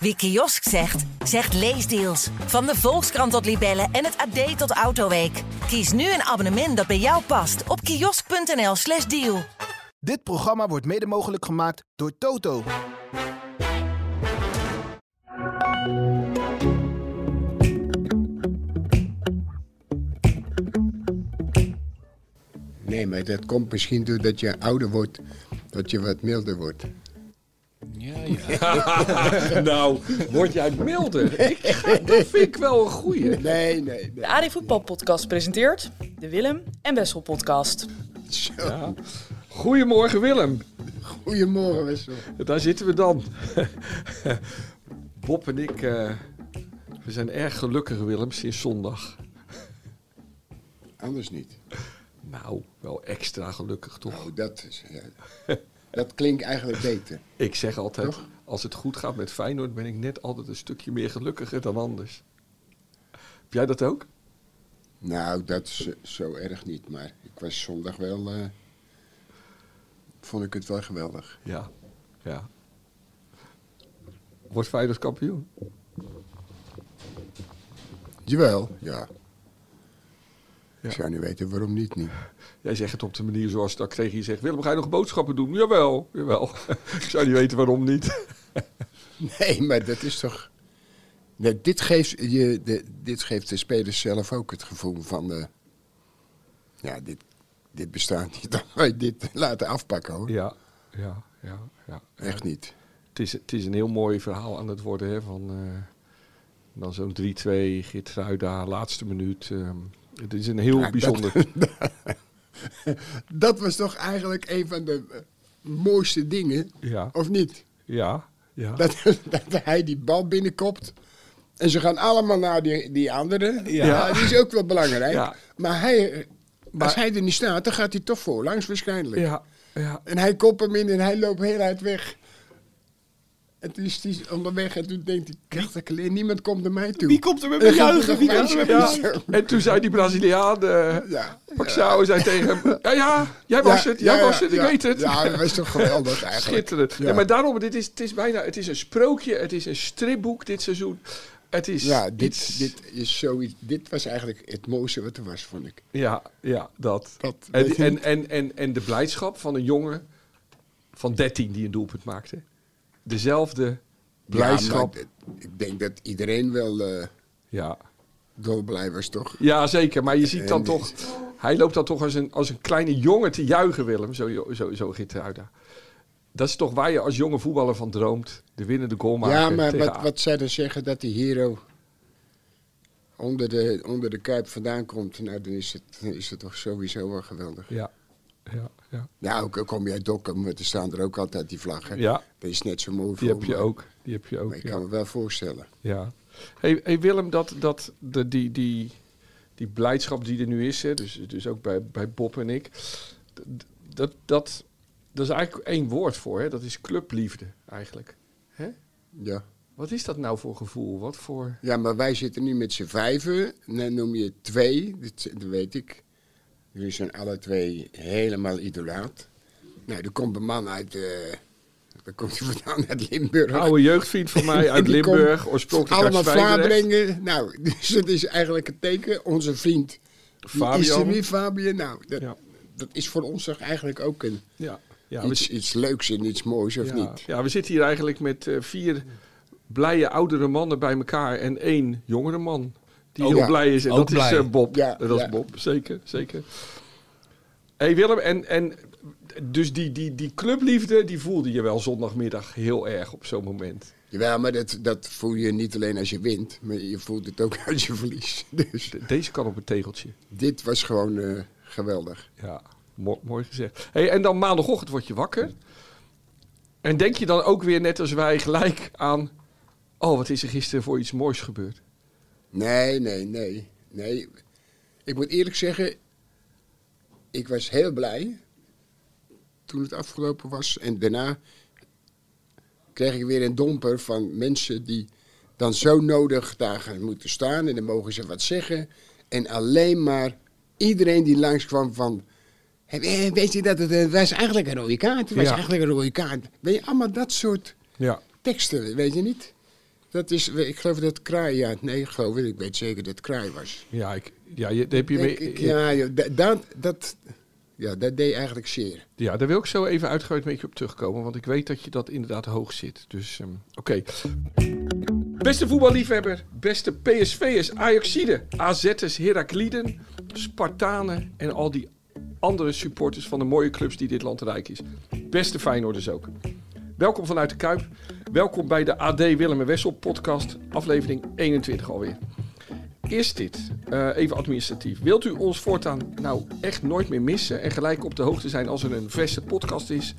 Wie kiosk zegt, zegt leesdeals. Van de Volkskrant tot Libellen en het AD tot Autoweek. Kies nu een abonnement dat bij jou past op kiosk.nl/slash deal. Dit programma wordt mede mogelijk gemaakt door Toto. Nee, maar dat komt misschien doordat je ouder wordt, dat je wat milder wordt. nou, word jij milder? Ik, dat vind ik wel een goeie. Nee, nee, nee. De AD Voetbal Podcast presenteert de Willem en Wessel Podcast. Zo. Goedemorgen Willem. Goedemorgen, Wessel. Daar zitten we dan. Bob en ik, eh, we zijn erg gelukkig Willem sinds zondag. Anders niet. Nou, wel extra gelukkig toch? Oh, dat, is, ja. dat klinkt eigenlijk beter. Ik zeg altijd, Toch? als het goed gaat met Feyenoord ben ik net altijd een stukje meer gelukkiger dan anders. Heb jij dat ook? Nou, dat is eh, zo erg niet, maar ik was zondag wel. eh, vond ik het wel geweldig. Ja. ja. Wordt Feyenoord kampioen? Jawel, ja. Ja. Ik zou niet weten waarom niet nu. Jij zegt het op de manier zoals dat tegen je zegt. Willem, ga je nog boodschappen doen? Jawel, jawel. ik zou niet weten waarom niet. Nee, maar dat is toch. Nee, dit, geeft je, de, dit geeft de spelers zelf ook het gevoel van. eh, ja, dit, dit bestaat niet. Dan wij dit laten afpakken hoor. Ja, ja, ja. ja. Echt niet. Het, is, het is een heel mooi verhaal aan het worden. Hè, van, eh, dan zo'n 3-2, Geertruida, laatste minuut. ehm, het is een heel Ja, dat- bijzonder... Dat was toch eigenlijk een van de eh, mooiste dingen, Ja, of niet? ja, ja. Dat, dat hij die bal binnenkopt. En ze gaan allemaal naar die, die andere. Ja. die is ook wel belangrijk. Ja. Maar, hij, eh, Maar- als hij er niet staat, dan gaat hij toch voor. Langs waarschijnlijk. ja, ja. En hij kopt hem in en hij loopt heel hard weg. En toen is hij onderweg en toen denkt hij, krachtig alleen, niemand komt naar mij toe. Wie komt er met En me dan gaat hij juichen? nog Wie komt er met me mensen- juichen? En toen zei die Braziliaan, eh Ja. Paxao, zei tegen hem... Ja, ja, jij was het, jij ja, was het, ik ja. weet het. Ja, dat was toch geweldig eigenlijk. Schitterend. Ja. Nee, maar daarom, dit is, het is bijna, het is een sprookje, het is een stripboek dit seizoen. Het is Ja, iets- dit, dit is zoiets, dit was eigenlijk het mooiste wat er was, vond ik. ja, ja, dat. Dat en, weet je en, niet. en, en, en de blijdschap van een jongen van 13 die een doelpunt maakte. Dezelfde blijdschap. Ja, maar d- ik denk dat iedereen wel eh Ja, dolblij was, toch? ja, zeker. Maar je ziet dan En- toch, hij loopt dan toch als een, als een kleine jongen te juichen, Willem. Zo, jo- zo, zo Gitteruida. Dat is toch waar je als jonge voetballer van droomt. De winnende goal maken. ja, maar tegen wat, wat zij dan zeggen dat die hero onder de, onder de kuip vandaan komt, nou dan is het, dan is het toch sowieso wel geweldig. Ja, ja, ja. Ja, ook al kom je uit Dokkum, want er staan er ook altijd die vlaggen. Ja. Dat is net zo mooi voor Die heb je maar- ook. Die heb je ook. Maar ik ja. kan me wel voorstellen. Ja. Hey, hey Willem, dat, dat, de, die, die, die blijdschap die er nu is, hè, dus, dus ook bij, bij Bob en ik, d- d- dat, dat, dat is eigenlijk één woord voor, hè? dat is clubliefde eigenlijk. Hè? Ja. Wat is dat nou voor gevoel? Wat voor... ja, maar wij zitten nu met z'n vijven. En dan noem je twee, dat, dat weet ik. Jullie zijn alle twee helemaal idolaat. Nou, er komt een man uit... eh daar komt hij vandaan uit Limburg. Oude jeugdvriend van mij En uit die Limburg, komt oorspronkelijk uit Allemaal Zwijndrecht. Vlaanderen. Nou, dus dat is eigenlijk een teken. Onze vriend. die Is Fabian. er nu, Fabian? Nou, dat, Ja. dat is voor ons toch eigenlijk ook een... Ja, ja, we, iets, iets leuks en iets moois, of ja, niet? ja, we zitten hier eigenlijk met eh, vier blije oudere mannen bij elkaar en één jongere man. Die Ook heel Oh ja, blij is. En ook dat is blij. eh, Bob. Ja, dat ja. is Bob, zeker. zeker. hey Willem, en, en dus die, die, die clubliefde, die voelde je wel zondagmiddag heel erg op zo'n moment. Jawel, maar dat, dat voel je niet alleen als je wint, maar je voelt het ook als je verliest. Dus De- deze kan op een tegeltje. dit was gewoon eh, geweldig. Ja, mo- mooi gezegd. hey, en dan maandagochtend word je wakker. En denk je dan ook weer net als wij gelijk aan... Oh, wat is er gisteren voor iets moois gebeurd? Nee, nee, nee, nee. Ik moet eerlijk zeggen, ik was heel blij toen het afgelopen was. En daarna kreeg ik weer een domper van mensen die dan zo nodig daar gaan moeten staan. En dan mogen ze wat zeggen. En alleen maar iedereen die langskwam van... "Hé, Weet je dat het eh, was eigenlijk een rode kaart? Het was Ja. eigenlijk een rode kaart. Weet je, allemaal dat soort Ja. teksten, weet je niet? Dat is, ik geloof dat het kraai, ja, nee, ik geloof het, ik weet zeker dat het kraai was. Ja, ik, ja je, daar heb je Denk mee- ik, ja, ja, da- dat, dat, ja, dat deed eigenlijk zeer. Ja, daar wil ik zo even uitgebreid een beetje op terugkomen. Want ik weet dat je dat inderdaad hoog zit. Dus ehm, oké. Beste voetballiefhebber, beste PSV'ers, Ajaxide, AZ'ers, Herakliden, Spartanen en al die andere supporters van de mooie clubs die dit land rijk is. Beste Feyenoorders ook. Welkom vanuit de Kuip. Welkom bij de AD Willem en Wessel podcast, aflevering 21 alweer. Is dit, eh, even administratief, wilt u ons voortaan nou echt nooit meer missen en gelijk op de hoogte zijn als er een verse podcast is?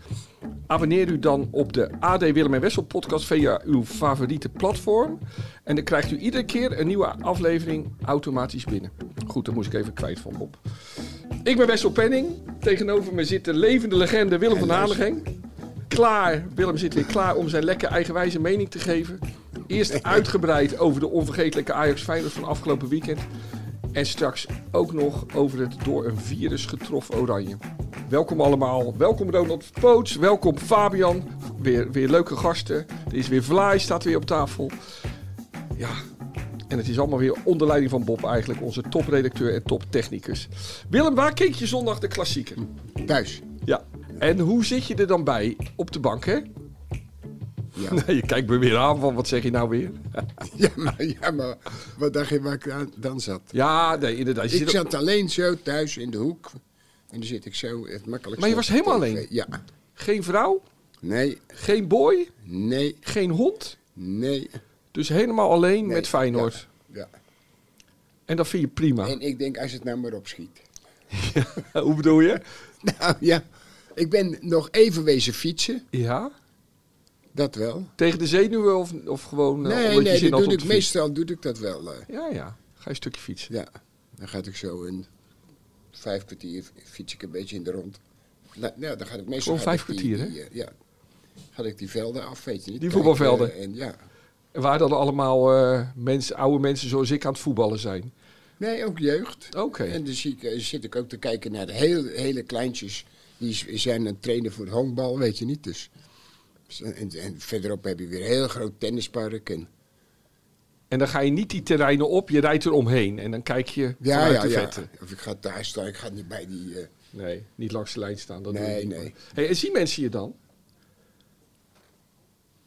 Abonneer u dan op de AD Willem en Wessel podcast via uw favoriete platform. En dan krijgt u iedere keer een nieuwe aflevering automatisch binnen. Goed, dat moest ik even kwijt van Bob. Ik ben Wessel Penning. Tegenover me zit de levende legende Willem van Hanegem. Klaar, Willem zit weer klaar om zijn lekker eigenwijze mening te geven. Eerst uitgebreid over de onvergetelijke Ajax Feyenoord van afgelopen weekend. En straks ook nog over het door een virus getroffen Oranje. Welkom allemaal. Welkom Ronald Poots. Welkom Fabian. Weer, weer leuke gasten. Er is weer Vlaai, staat weer op tafel. Ja, en het is allemaal weer onder leiding van Bob eigenlijk. Onze topredacteur en toptechnicus. Willem, waar keek je zondag de klassieker? Thuis. Ja. En hoe zit je er dan bij? Op de bank, hè? Ja, Nee, je kijkt me weer aan van wat zeg je nou weer? ja, maar, ja maar wat dacht je waar ik aan- dan zat? Ja, nee, inderdaad. Je Ik zit op- zat alleen zo thuis in de hoek. En dan zit ik zo het makkelijk. Maar je zo was helemaal tegen- alleen? Ja. Geen vrouw, Nee, geen boy, nee, geen hond. nee. Dus helemaal alleen nee. met Feyenoord. Ja, ja. En dat vind je prima. En ik denk, als het nou maar opschiet. Hoe bedoel je? Nou ja, ik ben nog even wezen fietsen. Ja? Dat wel. Tegen de zenuwen of, of gewoon eh, nee, omdat je nee, zin dat had doe om ik, te fietsen? meestal doe ik dat wel. eh. Ja, ja. Ga je een stukje fietsen. ja, dan ga ik zo in vijf kwartier fiets ik een beetje in de rond. Nou, nou dan ga ik meestal... Gewoon ga ik vijf die- kwartier, die, eh, Ja. Ga ik die velden af, weet je niet. Die kijken, voetbalvelden. eh, En ja. En waar dan allemaal eh, mensen, oude mensen zoals ik aan het voetballen zijn. Nee, ook jeugd. Oké. En dan zie ik, eh, zit ik ook te kijken naar de hele, hele kleintjes. Die s- zijn aan het trainen voor honkbal, weet je niet. Dus. Dus En, en verderop heb je weer een heel groot tennispark. En, En dan ga je niet die terreinen op, je rijdt eromheen. En dan kijk je ja, vanuit ja, de ja. vette. Of ik ga daar staan, ik ga niet bij die... eh, Nee, niet langs de lijn staan. Dat Nee, doe ik niet. nee. Hey, en zien mensen je dan?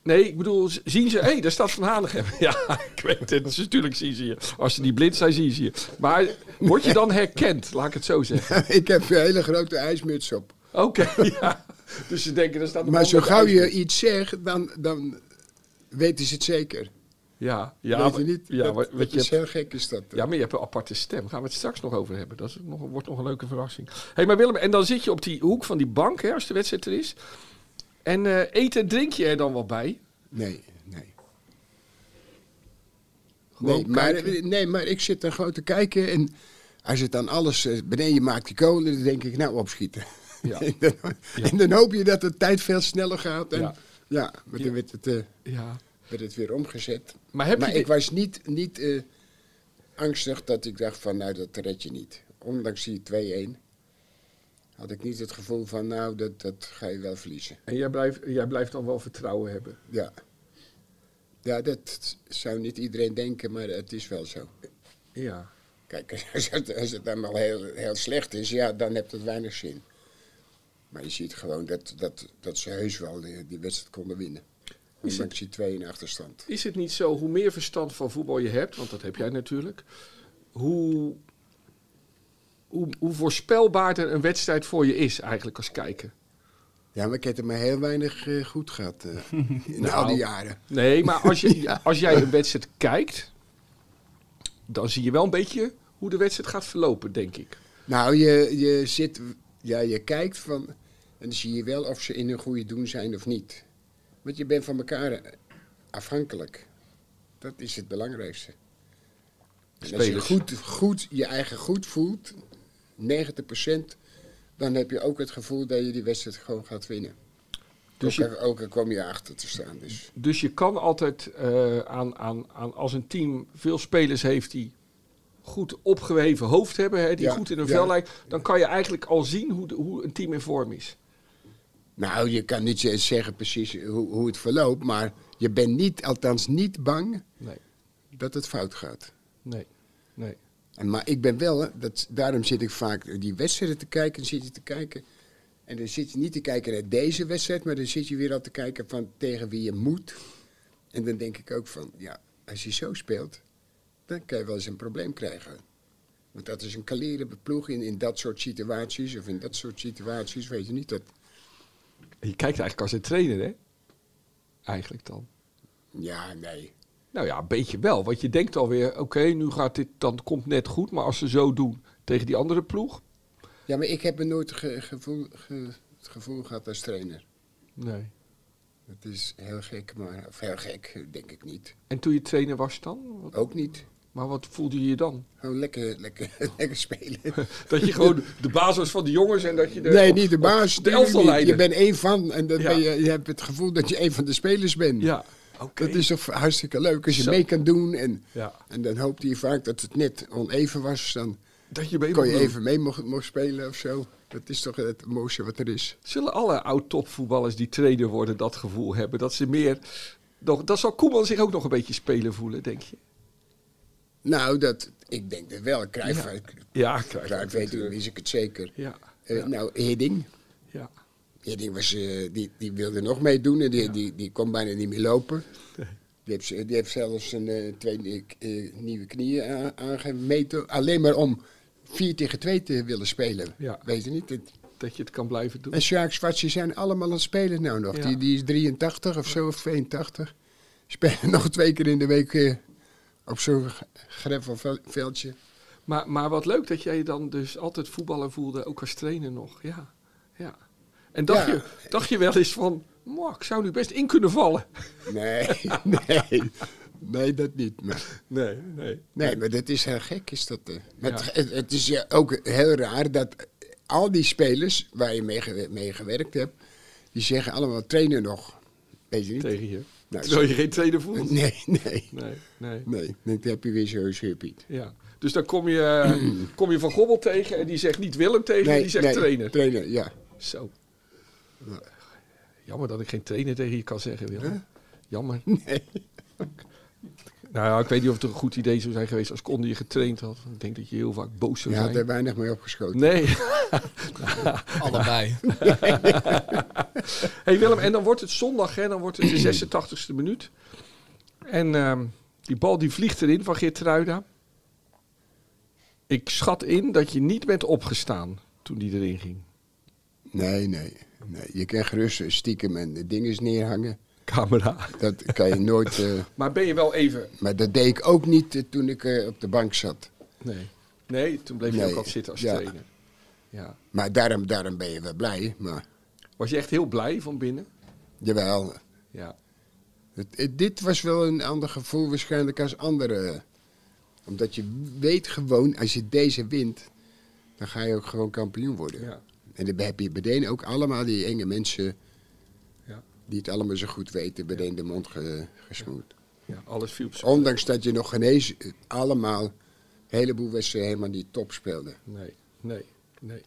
Nee, ik bedoel, z- zien ze... Hé, hey, daar staat Van Hanegem. Ja, ik weet het. Dus natuurlijk zien ze je. Als ze niet blind zijn, zien ze je. Maar word je dan herkend? Laat ik het zo zeggen. eh, ik heb een hele grote ijsmuts op. Oké, ja. Dus ze denken, daar staat een Maar man zo met gauw ijsbeer. je iets zegt, dan, dan weten ze het zeker. Ja, ja, weet je maar- niet? Ja, dat, maar, dat weet je is hebt- heel gek, is dat. eh. ja, maar je hebt een aparte stem. Gaan we het straks nog over hebben. Dat is nog, wordt nog een leuke verrassing. Hé, hey, maar Willem, en dan zit je op die hoek van die bank, hè, als de wedstrijd er is. En eh eten en drink je er dan wel bij? Nee, nee. Gewoon Nee maar, kijken. nee, maar ik zit dan gewoon te kijken en als het dan alles eh, beneden maakt die kolen, dan denk ik nou opschieten. Ja. en, dan, en dan hoop je dat de tijd veel sneller gaat. En, Ja. ja. maar dan werd het, eh, Ja. werd het weer omgezet. Maar heb je ik de- was niet, niet eh, angstig dat ik dacht van nou dat red je niet. Ondanks die 2-1 had ik niet het gevoel van nou dat, dat ga je wel verliezen. En jij blijft, jij blijft dan wel vertrouwen hebben. Ja. ja, dat zou niet iedereen denken, maar het is wel zo. Ja. Kijk, als het, als het allemaal heel, heel slecht is, ja, dan heeft het weinig zin. Maar je ziet gewoon dat, dat, dat ze heus wel eh, die, die wedstrijd konden winnen. Is Ondanks die 2 in achterstand. Is het niet zo, hoe meer verstand van voetbal je hebt, want dat heb jij natuurlijk, hoe, hoe, hoe voorspelbaarder een wedstrijd voor je is eigenlijk als kijker? Ja, maar ik heb er maar heel weinig eh, goed gehad eh, in al Nou. die jaren. Nee, maar als, je, als jij een wedstrijd kijkt, dan zie je wel een beetje hoe de wedstrijd gaat verlopen, denk ik. Nou, je, je zit, ja, je kijkt van, en dan zie je wel of ze in hun goede doen zijn of niet. Want je bent van elkaar eh, afhankelijk. Dat is het belangrijkste. En als je Spelers. goed, goed, je eigen goed voelt, 90%, dan heb je ook het gevoel dat je die wedstrijd gewoon gaat winnen. Dus Dus je- ook, al- ook al kwam je achter te staan. Dus. Dus je kan altijd eh, aan, aan, aan, als een team veel spelers heeft die goed opgeheven hoofd hebben, hè, die Ja, goed in hun ja. vel lijken, dan kan je eigenlijk al zien hoe, de- hoe een team in vorm is. Nou, je kan niet z- zeggen precies hoe, hoe het verloopt, maar Je bent niet, althans niet bang Nee, dat het fout gaat. nee, nee. En, maar ik ben wel, dat, daarom zit ik vaak die wedstrijden te kijken, dan zit je te kijken. En dan zit je niet te kijken naar deze wedstrijd, maar dan zit je weer al te kijken van tegen wie je moet. En dan denk ik ook van, ja, als je zo speelt, dan kan je wel eens een probleem krijgen. Want dat is een kalere ploeg in, in dat soort situaties, of in dat soort situaties, weet je niet dat. Je kijkt eigenlijk als een trainer, hè? Eigenlijk dan. Ja, nee. Nou ja, een beetje wel. Want je denkt alweer, oké, nu gaat dit, dan komt net goed. Maar als ze zo doen tegen die andere ploeg... Ja, maar ik heb me nooit ge- gevoel, ge- het gevoel gehad als trainer. Nee. Dat is heel gek, maar, of heel gek, denk ik niet. En toen je trainer was dan? Wat- Ook niet. Maar wat voelde je je dan? Gewoon lekker, lekker, lekker spelen. Dat je gewoon de baas was van de jongens en dat je... De, nee, niet de baas. De tuurlijk niet. elftalleider. Je bent één van en dan Ja. ben je, je hebt het gevoel dat je één van de spelers bent. Ja, oké. Dat is toch hartstikke leuk als je Zo. mee kan doen. En, Ja. en dan hoopte je vaak dat het net oneven was. Dan Dat je mee kon je mocht doen. even mee mocht, mocht spelen of zo. Dat is toch het mooiste wat er is. Zullen alle oud-topvoetballers die trainer worden dat gevoel hebben? Dat ze meer... Nog, dat zal Koeman zich ook nog een beetje spelen voelen, denk je? Nou, dat, ik denk dat wel. Krijg ja. Ja, krijg ik weet u, wist ik het zeker. eh, Ja, Eh, ja. Nou, Hidding. ja. Hidding was, eh, die, die wilde nog meedoen en die, die, die kon bijna niet meer lopen. Die heeft, z- die heeft zelfs een, eh, twee nie- eh, nieuwe knieën a- aangemeten. Alleen maar om 4 tegen 2 te willen spelen. Ja. Weet je niet? Het- Dat je het kan blijven doen. En Sjaak Zwarts, die zijn allemaal aan het spelen nou nog. Ja. Die, die is 83 of zo, of 82. Spelen nog twee keer in de week eh, op zo'n g- greffelveldje. Maar, maar wat leuk dat jij dan dus altijd voetballer voelde, ook als trainer nog. Ja, ja. En dacht, Ja. Je, dacht je wel eens van, "Mwah, ik zou nu best in kunnen vallen? Nee, nee. Nee, dat niet. Maar- Nee, nee. Nee, maar dat is heel gek, is dat. eh. Maar Ja. het, het, het is ja ook heel raar dat al die spelers waar je mee, gewe- mee gewerkt hebt, die zeggen allemaal trainen nog. Weet je niet? Tegen je. Nou, Terwijl je geen trainer voelt. Nee, nee, Nee, nee. nee. Dan heb je weer zo'n zeurpiet. Ja. Dus dan kom je, kom je Van Gobbel tegen en die zegt niet Willem tegen, Nee, die zegt nee, trainer. Trainer, ja. Zo. Jammer dat ik geen trainer tegen je kan zeggen, Willem. Jammer. Nee. Nou ja, ik weet niet of het een goed idee zou zijn geweest als Conde je getraind had. Ik denk dat je heel vaak boos zou Je had zijn. er weinig mee opgeschoten. Nee. Allebei. Hey Willem, en dan wordt het zondag, hè, dan wordt het de 86e minuut. En ehm, die bal die vliegt erin van Geertruida. Ik schat in dat je niet bent opgestaan toen die erin ging. Nee, nee. nee. Je kan gerust stiekem en de dingen neerhangen. Camera. Dat kan je nooit. eh, Maar ben je wel even... maar dat deed ik ook niet eh, toen ik eh, op de bank zat. Nee. Nee, toen bleef je Nee, ook al zitten als ja. trainer. Ja. Maar daarom, daarom ben je wel blij. Maar Was je echt heel blij van binnen? jawel, Ja. Het- het- dit was wel een ander gevoel waarschijnlijk als andere. Omdat je weet gewoon, als je deze wint, dan ga je ook gewoon kampioen worden. Ja. En dan heb je meteen ook allemaal die enge mensen Ja. die het allemaal zo goed weten, meteen de mond ge- gesmoord. ja. Alles viel op zijn... Ondanks dat je nog geen eens eh, allemaal een heleboel wedstrijden helemaal niet top speelde. Nee, nee, nee,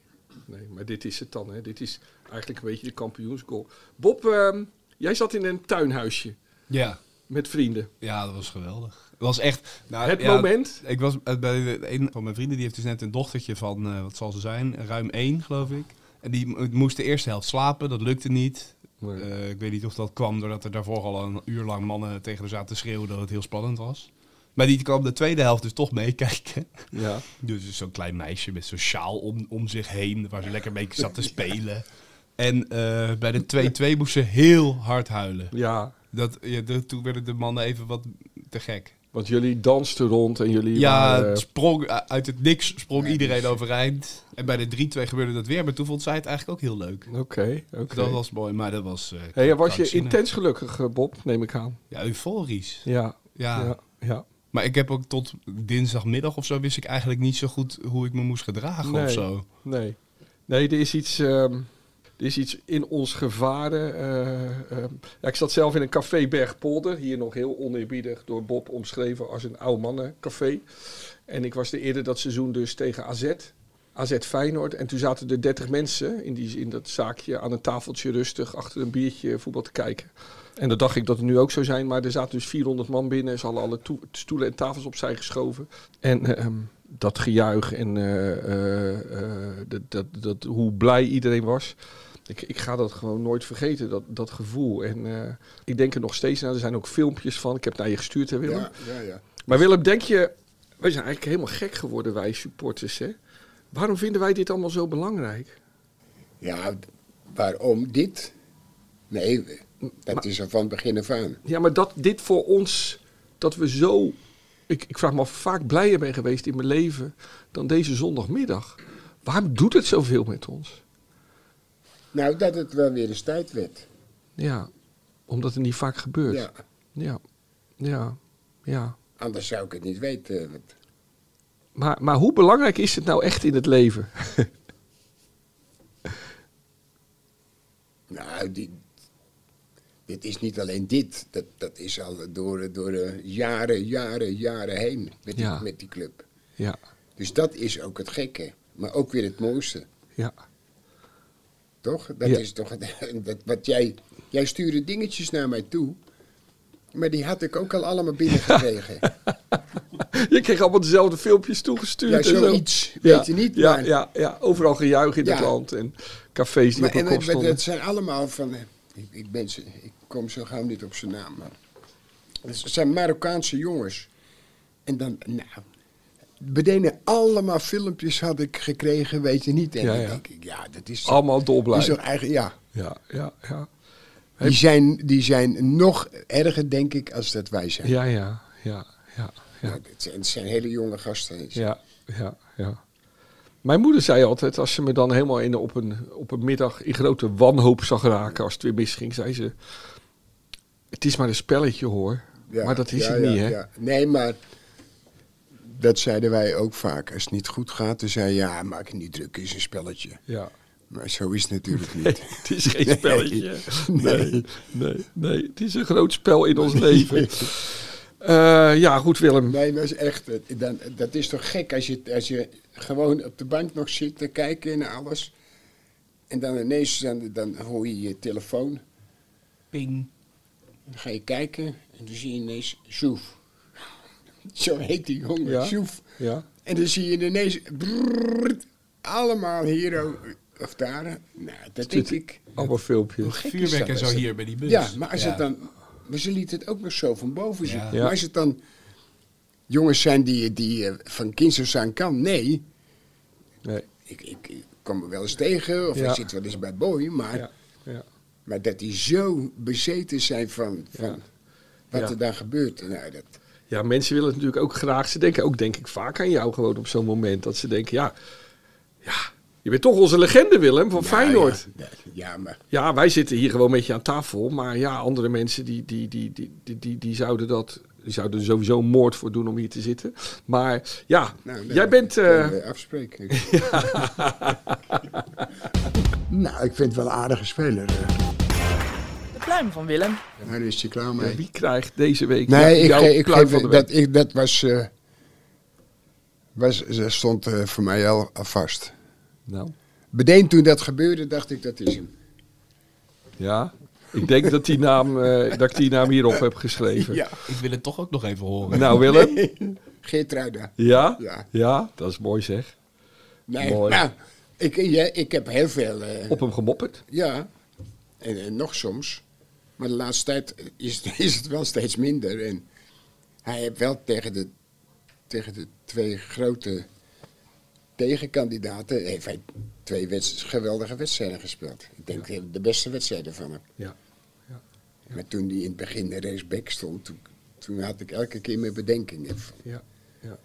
nee. Maar dit is het dan, hè. Dit is eigenlijk een beetje de kampioensgoal. Bob, ehm, jij zat in een tuinhuisje. Ja. Met vrienden. Ja, dat was geweldig. Het was echt... Nou, Het ja, moment? Ik was eh, bij de- een van mijn vrienden, die heeft dus net een dochtertje van, eh, wat zal ze zijn, ruim één, geloof ik. En die mo- moest de eerste helft slapen, dat lukte niet. Nee. Eh, ik weet niet of dat kwam doordat er daarvoor al een uur lang mannen tegen haar zaten te schreeuwen dat het heel spannend was. Maar die kwam de tweede helft dus toch meekijken. Ja. Dus zo'n klein meisje met zo'n sjaal om, om zich heen, waar ze lekker mee zat te spelen. En eh, bij de 2-2 moest ze heel hard huilen. Ja. Dat, ja, de- toen werden de mannen even wat te gek. Want jullie dansten rond en jullie Ja, waren, het eh, sprong, eh, uit het niks sprong dus- iedereen overeind. En bij de 3-2 gebeurde dat weer, maar toen vond zij het eigenlijk ook heel leuk. Oké, eh, oké. Dus Dat was mooi, maar dat was... eh, Hey, was je krankzinnig. intens gelukkig, eh, Bob, neem ik aan. Ja, euforisch. Ja. Ja. Ja. ja. Maar ik heb ook tot dinsdagmiddag of zo wist ik eigenlijk niet zo goed hoe ik me moest gedragen Nee. of zo. Nee. Nee, er is iets, ehm, er is iets in ons gevaren. eh, ehm. ja, ik zat zelf in een café Bergpolder. Hier nog heel oneerbiedig door Bob omschreven als een oude mannencafé. En ik was er eerder dat seizoen dus tegen AZ. AZ Feyenoord. En toen zaten er 30 mensen in, die, in dat zaakje aan een tafeltje rustig achter een biertje voetbal te kijken. En dat dacht ik dat het nu ook zou zijn, maar er zaten dus 400 man binnen. Ze hadden alle toe- stoelen en tafels opzij geschoven. En eh, ehm, dat gejuich en eh, eh, eh, dat, dat, dat, hoe blij iedereen was. Ik, ik ga dat gewoon nooit vergeten, dat, dat gevoel. En eh, ik denk er nog steeds aan. Er zijn ook filmpjes van. Ik heb het naar je gestuurd, hè, Willem? Ja, ja, ja. Maar Willem, denk je, wij zijn eigenlijk helemaal gek geworden, wij supporters. Hè? Waarom vinden wij dit allemaal zo belangrijk? Ja, waarom dit? Nee, dat is er van begin af aan. Ja, maar dat dit voor ons, dat we zo. Ik, ik vraag me af, vaak blijer ben geweest in mijn leven dan deze zondagmiddag. Waarom doet het zoveel met ons? Nou, dat het wel weer eens tijd werd. Ja, omdat het niet vaak gebeurt. Ja, ja, ja. ja. anders zou ik het niet weten. Want- Maar, maar hoe belangrijk is het nou echt in het leven? Nou, die, dit is niet alleen dit. Dat, dat is al door, door eh, jaren, jaren, jaren heen met die, Ja. met die club. ja, Dus dat is ook het gekke. Maar ook weer het mooiste, ja. toch? Dat Ja. is toch het- dat, wat jij... Jij stuurde dingetjes naar mij toe. Maar die had ik ook al allemaal binnengekregen. Je kreeg allemaal dezelfde filmpjes toegestuurd. Ja, en zo. zoiets. Weet je niet, Ja, maar- ja, ja, overal gejuich in Ja. het land en cafés die Maar, op en, elkaar het- stonden. het zijn allemaal van. eh, Ik, ik, ben, ze- ik kom zo gauw niet op zijn naam. Maar het zijn Marokkaanse jongens. En dan, nou. Beneden allemaal filmpjes had ik gekregen, weet je niet. En Ja, dan ja. denk ik, ja, dat is. Allemaal dolblij. die is toch eigen, ja. Ja, ja, ja. Die zijn, die zijn nog erger, denk ik, als dat wij zijn. Ja, ja, ja, ja, ja, Nou, het, zijn het zijn hele jonge gasten. ja, ja, ja. Mijn moeder zei altijd, als ze me dan helemaal in, op, een, op een middag in grote wanhoop zag raken, als het weer misging, zei ze, het is maar een spelletje hoor. Ja, maar dat is ja, het ja, niet, hè? ja. Nee, maar dat zeiden wij ook vaak. Als het niet goed gaat, dan zei je, ja, maak je niet druk, is een spelletje. ja. Maar zo is het natuurlijk niet. Het is geen spelletje. Nee. Nee. nee, Het is een groot spel in ons leven. Eh, ja, goed Willem. Nee, dat is echt. eh, Dan, dat is toch gek als je, als je gewoon op de bank nog zit te kijken naar alles. En dan ineens dan, dan hoor je je telefoon. Ping. Dan ga je kijken en dan zie je ineens Soef. Zo heet die jongen, Ja. Soef. Ja. En dan zie je ineens brrrr, allemaal hier oh, of daar. Nou, dat denk ik. Allemaal filmpjes. gek is Vuurwerk dat en zo is dat? hier bij die bus. Ja, maar als het dan. Maar ze liet het ook nog zo van boven zien. Ja. Ja. Maar als het dan jongens zijn die, die eh, van kinds af aan kan, nee. Nee. Ik, ik, ik kom er wel eens tegen, of Ja. ik zit wel eens bij Boy, maar, Ja. Ja. maar dat die zo bezeten zijn van, van Ja. wat Ja. er daar gebeurt. Nou, dat, ja, mensen willen het natuurlijk ook graag. Ze denken ook, denk ik, vaak aan jou gewoon op zo'n moment. Dat ze denken, ja, ja je bent toch onze legende Willem van Ja, Feyenoord. Ja. Ja, ja, ja, maar wij zitten hier gewoon met je aan tafel. Maar ja, andere mensen die, die, die, die, die, die, die zouden dat... Die zouden er sowieso een moord voor doen om hier te zitten. Maar ja, nou, jij dat bent... eh, kunnen we afspreken. nou, ik vind het wel een aardige speler. eh. De pluim van Willem. Nou, daar is hij klaar Ja, mee. wie krijgt deze week Nee, jou- ik, ge- ik geef kluif van de week? dat, ik, dat was, eh, was, dat stond eh, voor mij al, al vast. Nou, Bedeen toen dat gebeurde, dacht ik dat is hem. ja. Ik denk dat, die naam, eh, dat ik die naam hierop heb geschreven. Ik wil het toch ook nog even horen. Nou, Willem. Geertruida. Ja? ja? Ja. dat is mooi zeg. Nee, Mooi. nou, ik, ja, ik heb heel veel. eh, Op hem gemopperd. Ja, en, en nog soms. Maar de laatste tijd is, is het wel steeds minder. En hij heeft wel tegen de, tegen de twee grote tegenkandidaten... heeft hij twee wedst- geweldige wedstrijden gespeeld. Ik denk de beste wedstrijden van hem. Ja. Maar toen hij in het begin de race back stond... Toen, toen had ik elke keer mijn bedenkingen. van, Ja. ja.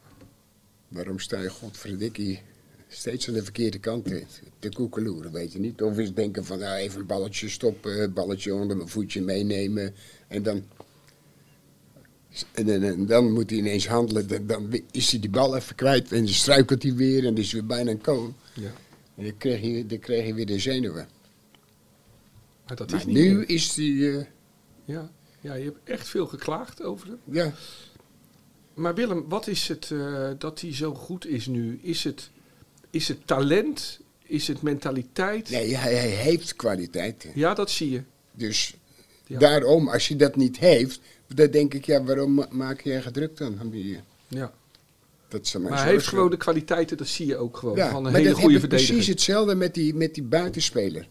Waarom sta je godverdikkie steeds aan de verkeerde kant te, te koekeloeren, weet je niet? Of eens denken van, nou, even een balletje stoppen, balletje onder mijn voetje meenemen. En dan, en, dan- en dan moet hij ineens handelen. Dan, dan is hij die bal even kwijt en dan struikelt hij weer en dan is hij weer bijna een kool. Ja. En dan kreeg, je, dan kreeg je weer de zenuwen. Maar dat is Maar niet nu meer. is hij, eh, Ja. ja, je hebt echt veel geklaagd over hem. ja, Maar Willem, wat is het eh, dat hij zo goed is nu? Is het, Is het talent? Is het mentaliteit? Nee, hij, hij heeft kwaliteiten. Ja, dat zie je. Dus Ja. daarom, als je dat niet heeft, dan denk ik, ja, waarom ma- maak jij gedrukt dan? aan die- Ja. Dat is mijn Maar hij zorg. heeft gewoon de kwaliteiten, dat zie je ook gewoon. Ja, van een maar hele dat goede heb ik verdediger. precies hetzelfde met die, met die buitenspeler.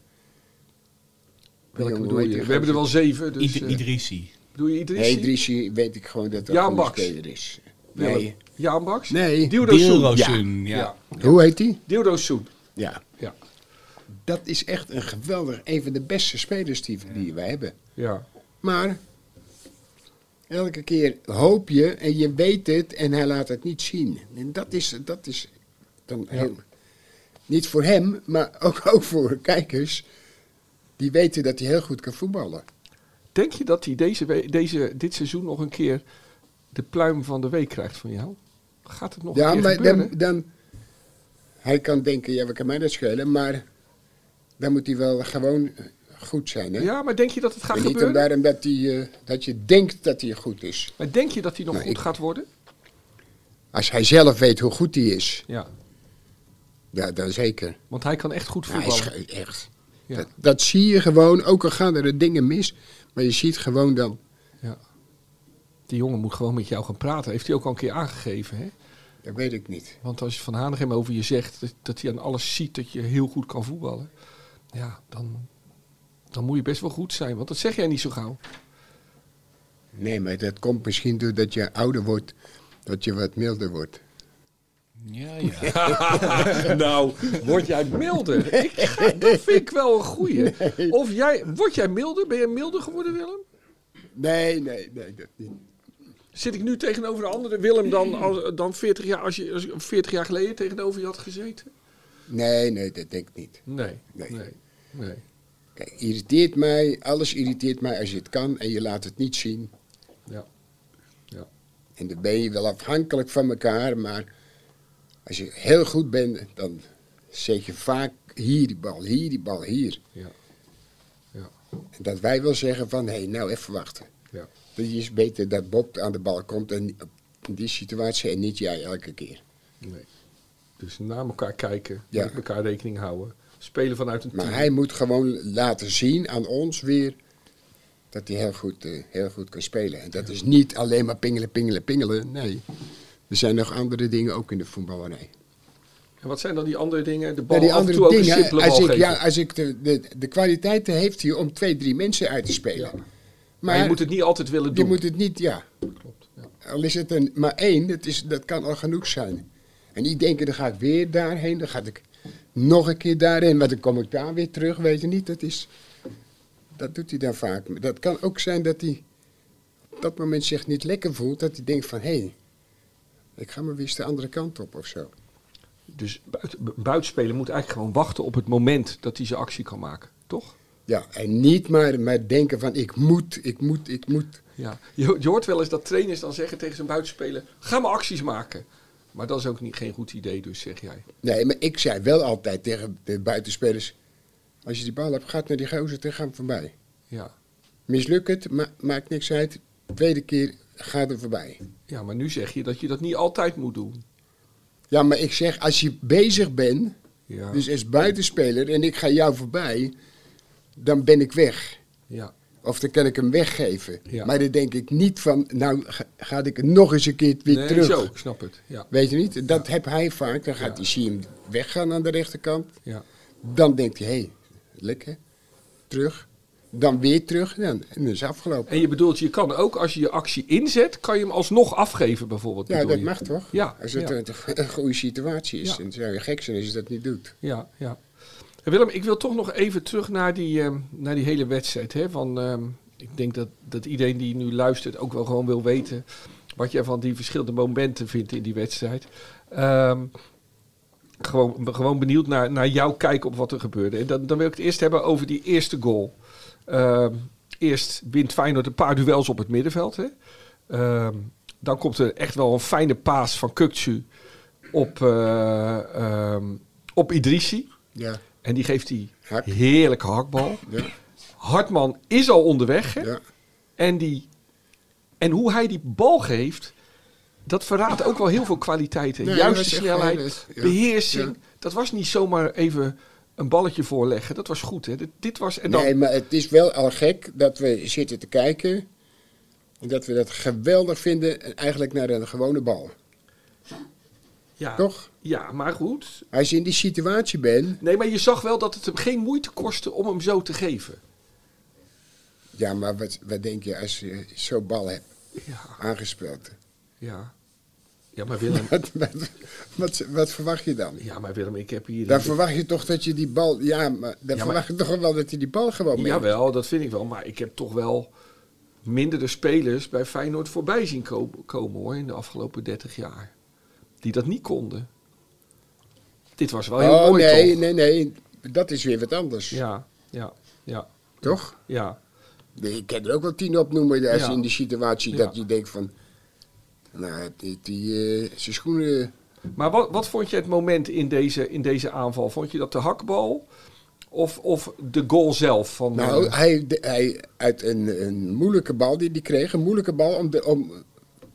Welke Jongen, bedoel hoe je? heet die We hebben er wel zeven. Dus, Ied- eh, Idrissi. bedoel je Idrissi? Nee, Idrissi weet ik gewoon dat dat Jan een goede Baks. speler is. Willem. Nee. Jaan Baks? Nee. Dildo Soen. Dilrosun, ja. Ja. Hoe heet die? Dildo Soen. Ja. Ja. Dat is echt een geweldig, een van de beste spelers die, die wij hebben. Ja. Maar elke keer hoop je en je weet het en hij laat het niet zien. En dat is, dat is dan heel, niet voor hem, maar ook, ook voor kijkers. Die weten dat hij heel goed kan voetballen. Denk je dat hij deze, we- deze, dit seizoen nog een keer de pluim van de week krijgt van jou? Gaat het nog ja, een keer maar dan, gebeuren? dan. Hij kan denken, ja, we kan mij dat schelen, maar dan moet hij wel gewoon eh, goed zijn. Hè? Ja, maar denk je dat het gaat en niet gebeuren? daarom dat, hij, eh, dat je denkt dat hij goed is. Maar denk je dat hij nog Nou, goed ik- gaat worden? Als hij zelf weet hoe goed hij is, Ja. ja, dan zeker. Want hij kan echt goed Nou, Hij is voetballen. ge- echt. Ja. Dat, dat zie je gewoon, ook al gaan er de dingen mis, maar je ziet gewoon dan. ja. Die jongen moet gewoon met jou gaan praten. Heeft hij ook al een keer aangegeven, hè? Dat weet ik niet. Want als je Van Hanegem over je zegt dat, dat hij aan alles ziet dat je heel goed kan voetballen, ja, dan, dan moet je best wel goed zijn. Want dat zeg jij niet zo gauw. Nee, maar dat komt misschien doordat je ouder wordt, dat je wat milder wordt. Ja, ja. nou, word jij milder? Ik ga- dat vind ik wel een goeie. Of jij, word jij milder? Ben jij milder geworden, Willem? Nee, nee, nee, dat niet. Zit ik nu tegenover een andere Willem dan, als, dan 40, jaar, als je, als je 40 jaar geleden tegenover je had gezeten? Nee, nee, dat denk ik niet. Nee. Nee. nee. nee. Kijk, irriteert mij, alles irriteert mij als je het kan en je laat het niet zien. Ja. ja. En dan ben je wel afhankelijk van elkaar, maar als je heel goed bent, dan zeg je vaak hier die bal, hier die bal, hier. Ja. Ja. En dat wij wel zeggen van, hé, hey, nou even wachten. Ja. Het is beter dat Bob aan de bal komt en in die situatie en niet jij elke keer. Nee. Dus naar elkaar kijken, Ja. met elkaar rekening houden. Spelen vanuit een Maar team. hij moet gewoon laten zien aan ons weer dat hij heel goed, eh, heel goed kan spelen. En dat is niet alleen maar pingelen, pingelen, pingelen. Nee, er zijn nog andere dingen ook in de voetballerij. En wat zijn dan die andere dingen? De bal Maar die af en andere toe ook een dingen, simpele als bal ik, geven. ja, als ik de, de, de kwaliteiten heeft hij om twee, drie mensen uit te spelen. Maar, maar, je moet het niet altijd willen je doen. moet het niet, ja. Klopt. Ja. Al is het een, maar één, dat, is, dat kan al genoeg zijn. En niet denken, dan ga ik weer daarheen, dan ga ik nog een keer daarheen, maar dan kom ik daar weer terug, weet je niet. Dat, is, dat doet hij dan vaak. Maar dat kan ook zijn dat hij op dat moment zich niet lekker voelt, dat hij denkt van, hé, ik ga maar weer eens de andere kant op of zo. Dus buiten, bu- buitenspeler moet eigenlijk gewoon wachten op het moment dat hij zijn actie kan maken. Toch? Ja, en niet maar, maar denken van, ik moet, ik moet, ik moet. Ja. Je, ho- je hoort wel eens dat trainers dan zeggen tegen zijn buitenspeler... ga maar acties maken. Maar dat is ook niet, geen goed idee dus, zeg jij. Nee, maar ik zei wel altijd tegen de buitenspelers, als je die bal hebt, gaat naar die gozer, dan ga hem voorbij. Ja. Mislukt het, ma- maakt niks uit. Tweede keer gaat er voorbij. ja, maar nu zeg je dat je dat niet altijd moet doen. Ja, maar ik zeg, als je bezig bent, Ja. dus als buitenspeler, en ik ga jou voorbij, dan ben ik weg. ja. Of dan kan ik hem weggeven. Ja. Maar dan denk ik niet van, nou ga, ga ik hem nog eens een keer weer Nee, terug. zo. Ik snap het. Ja. Weet je niet? Dat heb hij vaak. Dan gaat hij, zie je hem weggaan aan de rechterkant. ja. Dan denkt hij, hé, hey, lekker. Terug. Dan weer terug. Ja, En dan is het afgelopen. En je bedoelt, je kan ook als je je actie inzet, kan je hem alsnog afgeven bijvoorbeeld. Ja, bedoel dat je? mag toch? Ja, Als het ja. een, een goede situatie is. Ja. Dan zou je gek zijn als je dat niet doet. Ja, ja. En Willem, ik wil toch nog even terug naar die, ehm, naar die hele wedstrijd. Hè? Van, ehm, ik denk dat, dat iedereen die nu luistert ook wel gewoon wil weten wat jij van die verschillende momenten vindt in die wedstrijd. Ehm, gewoon, gewoon benieuwd naar, naar jouw kijk op wat er gebeurde. En dan, dan wil ik het eerst hebben over die eerste goal. Ehm, eerst wint Feyenoord een paar duels op het middenveld. Hè? Ehm, dan komt er echt wel een fijne paas van Kukcu op, eh, ehm, op Idrissi. Ja. En die geeft die Hak. heerlijke hakbal. Ja. Hartman is al onderweg. Hè? Ja. En, die, en hoe hij die bal geeft, dat verraadt ook wel heel veel kwaliteiten. Nee, Juist dat de is echt snelheid, heel leuk. Ja. beheersing, dat was niet zomaar even een balletje voorleggen. Dat was goed, hè? Dit, dit was... En dan, Nee, maar het is wel al gek dat we zitten te kijken. En dat we dat geweldig vinden. En eigenlijk naar een gewone bal. ja, Toch? Ja, maar goed. Als je in die situatie bent. Nee, maar je zag wel dat het hem geen moeite kostte om hem zo te geven. Ja, maar wat, wat denk je als je zo'n bal hebt Ja, aangespeeld? ja. Ja, maar Willem... Wat, wat, wat, wat verwacht je dan? Ja, maar Willem, ik heb hier... Dan verwacht je toch dat je die bal. Ja, maar dan verwacht je toch wel dat Oh, je die bal gewoon mee. Jawel, dat vind ik wel. Maar ik heb toch wel mindere spelers bij Feyenoord voorbij zien ko- komen hoor, in de afgelopen 30 jaar. Die dat niet konden. Dit was wel heel oh mooi nee, toch? nee, nee. Dat is weer wat anders. Ja, ja, ja, Toch? ja. Nee, Ik kan er ook wel tien opnoemen als Ja. je in die situatie dat Ja. je denkt van. Nou, die, die, eh, zijn schoenen. Maar wat, wat vond je het moment in deze, in deze aanval? Vond je dat de hakbal of, of de goal zelf? Van, Nou, eh, hij, de- hij uit een, een moeilijke bal die hij kreeg, een moeilijke bal om, de, om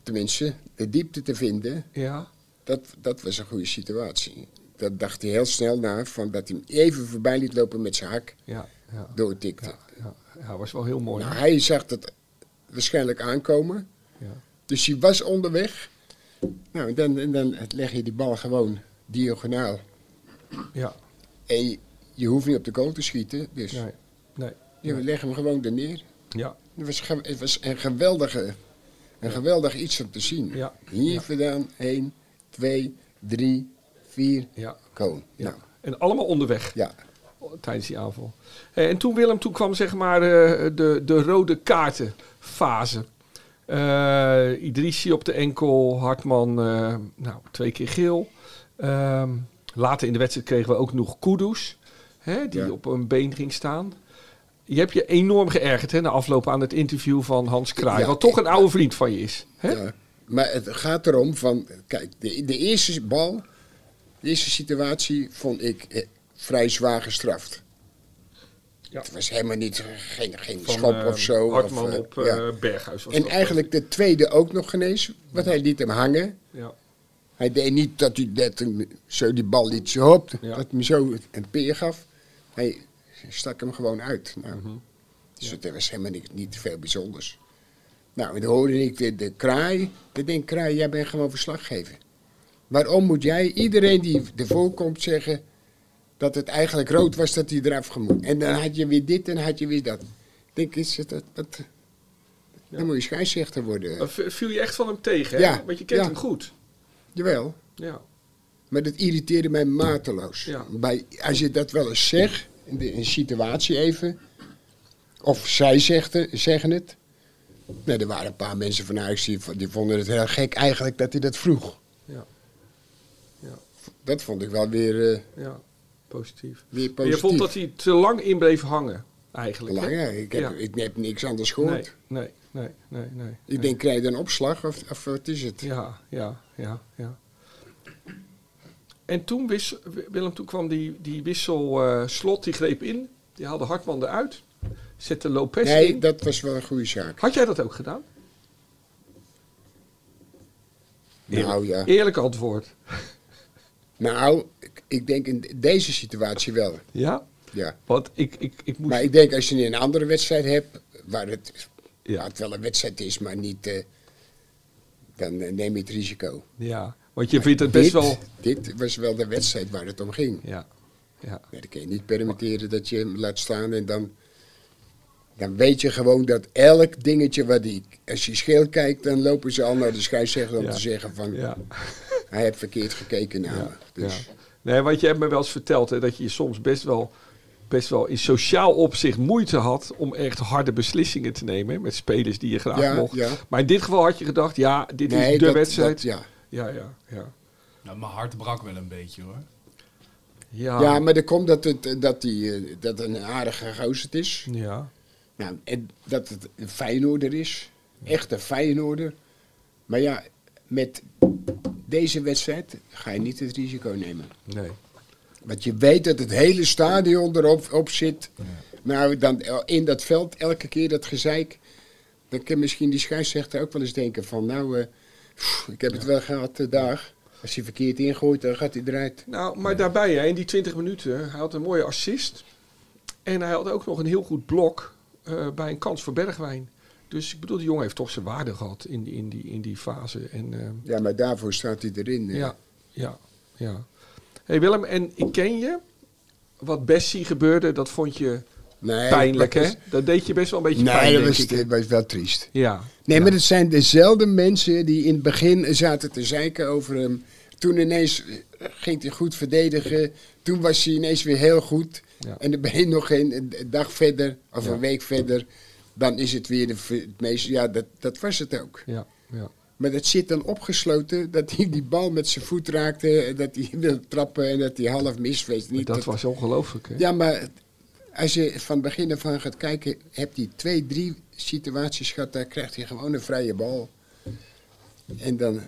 tenminste de diepte te vinden, ja, dat, dat was een goede situatie. Dat dacht hij heel snel na, van dat hij hem even voorbij liet lopen met zijn hak, ja, ja, doortikte. ja, ja, was wel heel mooi. Nou, hij zag dat waarschijnlijk aankomen, Ja. dus hij was onderweg. Nou, en dan, en dan leg je die bal gewoon diagonaal. Ja, En je, je hoeft niet op de goal te schieten, dus nee, nee, je legt hem gewoon er neer. ja. Het was, ge- het was een, geweldige, een geweldig iets om te zien. Ja. Hier Ja. vandaan, 1, 2, 3, 4, Ja. koon. Ja. Nou, En allemaal onderweg. ja. tijdens die aanval. Eh, en toen Willem, toen kwam zeg maar eh, de, de rode kaartenfase. Eh Idrissi op de enkel, Hartman eh, nou, twee keer geel. Ehm, later in de wedstrijd kregen we ook nog Kudus, hè, die Ja. op een been ging staan. Je hebt je enorm geërgerd hè, na afloop aan het interview van Hans Kraai, Ja, wat toch een oude vriend van je is. Hè? ja. Maar het gaat erom van, kijk, de, de eerste bal, de eerste situatie vond ik eh, vrij zwaar gestraft. Ja. Het was helemaal niet, geen, geen Van, schop eh, of zo. Hartman of, eh, op eh, ja. Berghuis. Was En dat. eigenlijk de tweede ook nog genees, want hij liet hem hangen. Ja, Hij deed niet dat hij net een, zo die bal liet zo op, Ja. dat hij hem zo een peer gaf. Hij stak hem gewoon uit. Nou, Dus dat was helemaal niet, niet veel bijzonders. Nou, en dan hoorde ik de, de kraai. Ik denk, kraai, jij bent gewoon verslaggever. Waarom moet jij iedereen die ervoor komt zeggen dat het eigenlijk rood was dat hij eraf gemoet? En dan had je weer dit en had je weer dat. Ik denk, is het, dat, dat, dan moet je scheidsrechter worden. Eh, v- viel je echt van hem tegen, hè? Ja, want je kent ja. hem goed. Jawel. Ja, Maar dat irriteerde mij mateloos. Ja. Bij, als je dat wel eens zegt, in de- in een situatie even, of zij zegt, het- zeggen het. Nee, er waren een paar mensen van huis die, v- die vonden het heel gek eigenlijk dat hij dat vroeg. ja, ja. Dat vond ik wel weer, eh, Ja, positief. weer Maar Je positief. vond dat hij te lang in bleef hangen, eigenlijk. Lang, hè? hè? ik, heb, Ja. ik heb niks anders gehoord. Nee, nee, nee, nee, nee. Ik denk, krijg je een opslag of, of wat is het? Ja, ja, ja, ja. En toen, wis, Willem, toen kwam die, die wissel eh, slot, die greep in. Die haalde Hartman eruit. Zette Lopez Nee, in. dat was wel een goede zaak. Had jij dat ook gedaan? Nou ja. Eerlijk antwoord. Nou, ik, ik denk in deze situatie wel. Ja? Ja. Want ik, ik, ik moest... Maar ik denk als je een andere wedstrijd hebt, waar het, Ja. waar het wel een wedstrijd is, maar niet. eh, dan eh, neem je het risico. Ja, want je vindt het best dit, wel... dit was wel de wedstrijd waar het om ging. Ja, ja. Nee, dat kun je niet permitteren dat je hem laat staan en dan. Dan weet je gewoon dat elk dingetje wat die. Als je scheel kijkt, dan lopen ze al naar de scheidsrechter om Ja. te zeggen van. Ja. Hij heeft verkeerd gekeken naar me. Dus, Ja. Nee, want je hebt me wel eens verteld hè, dat je soms best wel, best wel in sociaal opzicht moeite had om echt harde beslissingen te nemen hè, met spelers die je graag Ja, mocht. ja. Maar in dit geval had je gedacht, ja, dit Nee, is de dat- wedstrijd. dat- ja. ja, ja, ja. Nou, mijn hart brak wel een beetje hoor. Ja, ja, maar dan komt dat, het, dat, die, eh, dat een aardige gozer het is. ja. Nou, en dat het een Feyenoorder is. Echt een Feyenoorder. Maar ja, met deze wedstrijd ga je niet het risico nemen. nee. Want je weet dat het hele stadion erop op zit. Nou, dan el- in dat veld elke keer dat gezeik. Dan kan misschien die scheidsrechter ook wel eens denken van... Nou, eh, pff, ik heb het wel gehad de dag. Als hij verkeerd ingooit, dan gaat hij eruit. Nou, maar daarbij, hè, in die 20 minuten, hij had een mooie assist. En hij had ook nog een heel goed blok eh, bij een kans voor Bergwijn. Dus ik bedoel, die jongen heeft toch zijn waarde gehad in, die- in, die, in die fase. En, eh, Ja, maar daarvoor staat hij erin. eh. hè. ja, ja, ja. hey Willem, en ik ken je. Wat Bessie gebeurde, dat vond je Nee, pijnlijk, dat hè? was- Dat deed je best wel een beetje pijn, Nee, dat denk was, ik. dat was wel triest. Ja. Nee, maar het zijn dezelfde mensen die in het begin zaten te zeiken over hem. Toen ineens eh, ging hij goed verdedigen. Toen was hij ineens weer heel goed. Ja. En dan ben je nog geen eh, dag verder of Ja. een week verder. Dan is het weer de, v- het meest. Ja, dat, dat was het ook. Ja, ja. Maar dat zit dan opgesloten dat hij die bal met zijn voet raakte. En dat hij wilde trappen en dat hij half miswees. Maar Niet dat was ongelooflijk, hè? Ja, maar het- als je van begin af aan gaat kijken, heb hij twee, drie situaties gehad, daar krijgt hij gewoon een vrije bal. En dan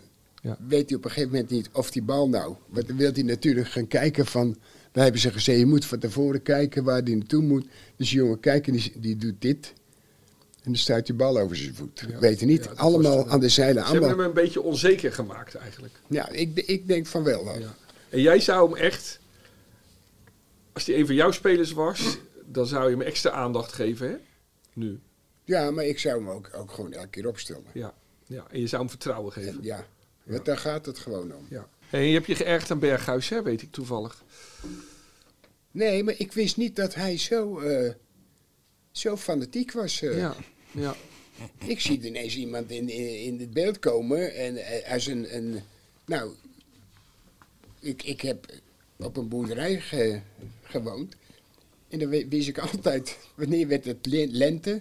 Ja. weet hij op een gegeven moment niet of die bal nou. Want dan wil hij natuurlijk gaan kijken van. Daar hebben ze gezegd, je moet van tevoren kijken waar hij naartoe moet. Dus die jongen kijken, die, die doet dit. En dan stuit die bal over zijn voet. Ja. Weet je niet. Ja, dat was allemaal het. aan de zeilen. Ze hebben Allemaal. hem een beetje onzeker gemaakt, eigenlijk. Ja, ik, ik denk van wel. dan. Ja. En jij zou hem echt, als die een van jouw spelers was, dan zou je hem extra aandacht geven, hè? Nu. Ja, maar ik zou hem ook, ook gewoon elke keer opstellen. Ja. ja. En je zou hem vertrouwen En geven. Ja. ja, want daar gaat het gewoon om. Hey, en je hebt je geërgerd aan Berghuis, hè? Weet ik toevallig. Nee, maar ik wist niet dat hij zo, eh, zo fanatiek was. eh. Ja. Ja. Ik zie ineens iemand in, in, in het beeld komen en eh, als een, een nou, ik, ik heb op een boerderij ge- gewoond en dan we- wist ik altijd wanneer werd het le- lente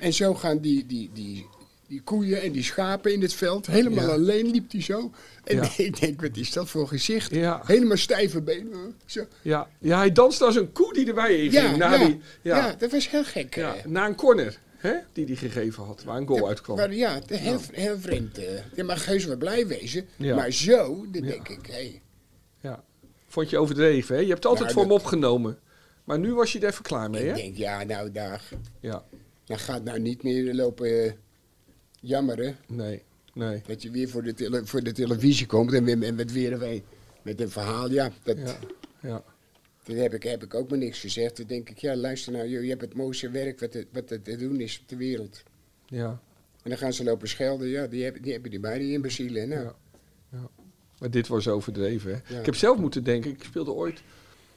en zo gaan die, die, die, die koeien en die schapen in het veld helemaal Ja. alleen liep hij zo en Ja. ik denk wat is dat voor gezicht Ja. helemaal stijve benen zo. Ja. ja, hij danste als een koe die erbij in ging. Ja, na, ja, die, ja, ja, dat was heel gek. ja, eh. na een corner, hè? Die hij gegeven had, waar een goal Ja, uitkwam. maar ja, het is heel, heel vreemd. eh. Je mag heus wel blij wezen, Ja. maar zo, dan Ja. denk ik, hé. Ja. Vond je overdreven, hè? Je hebt altijd Nou, voor hem dat- opgenomen. Maar nu was je er even klaar mee, ik hè? denk, ja, nou, daar, Ja. daar gaat nou niet meer lopen eh, jammeren. Nee. Nee. Dat je weer voor de, tele- voor de televisie komt en, weer, en met weer een wee- met een verhaal. Ja, dat, Ja. Ja. dat heb, ik, heb ik ook maar niks gezegd. Dan denk ik, ja, luister nou, joh, je hebt het mooiste werk wat, het, wat er te doen is op de wereld. Ja. En dan gaan ze lopen schelden. Ja, die hebben die, hebben die bij, die imbecielen. Nou, Ja. Maar dit was overdreven. Hè? Ja. Ik heb zelf moeten denken, ik speelde ooit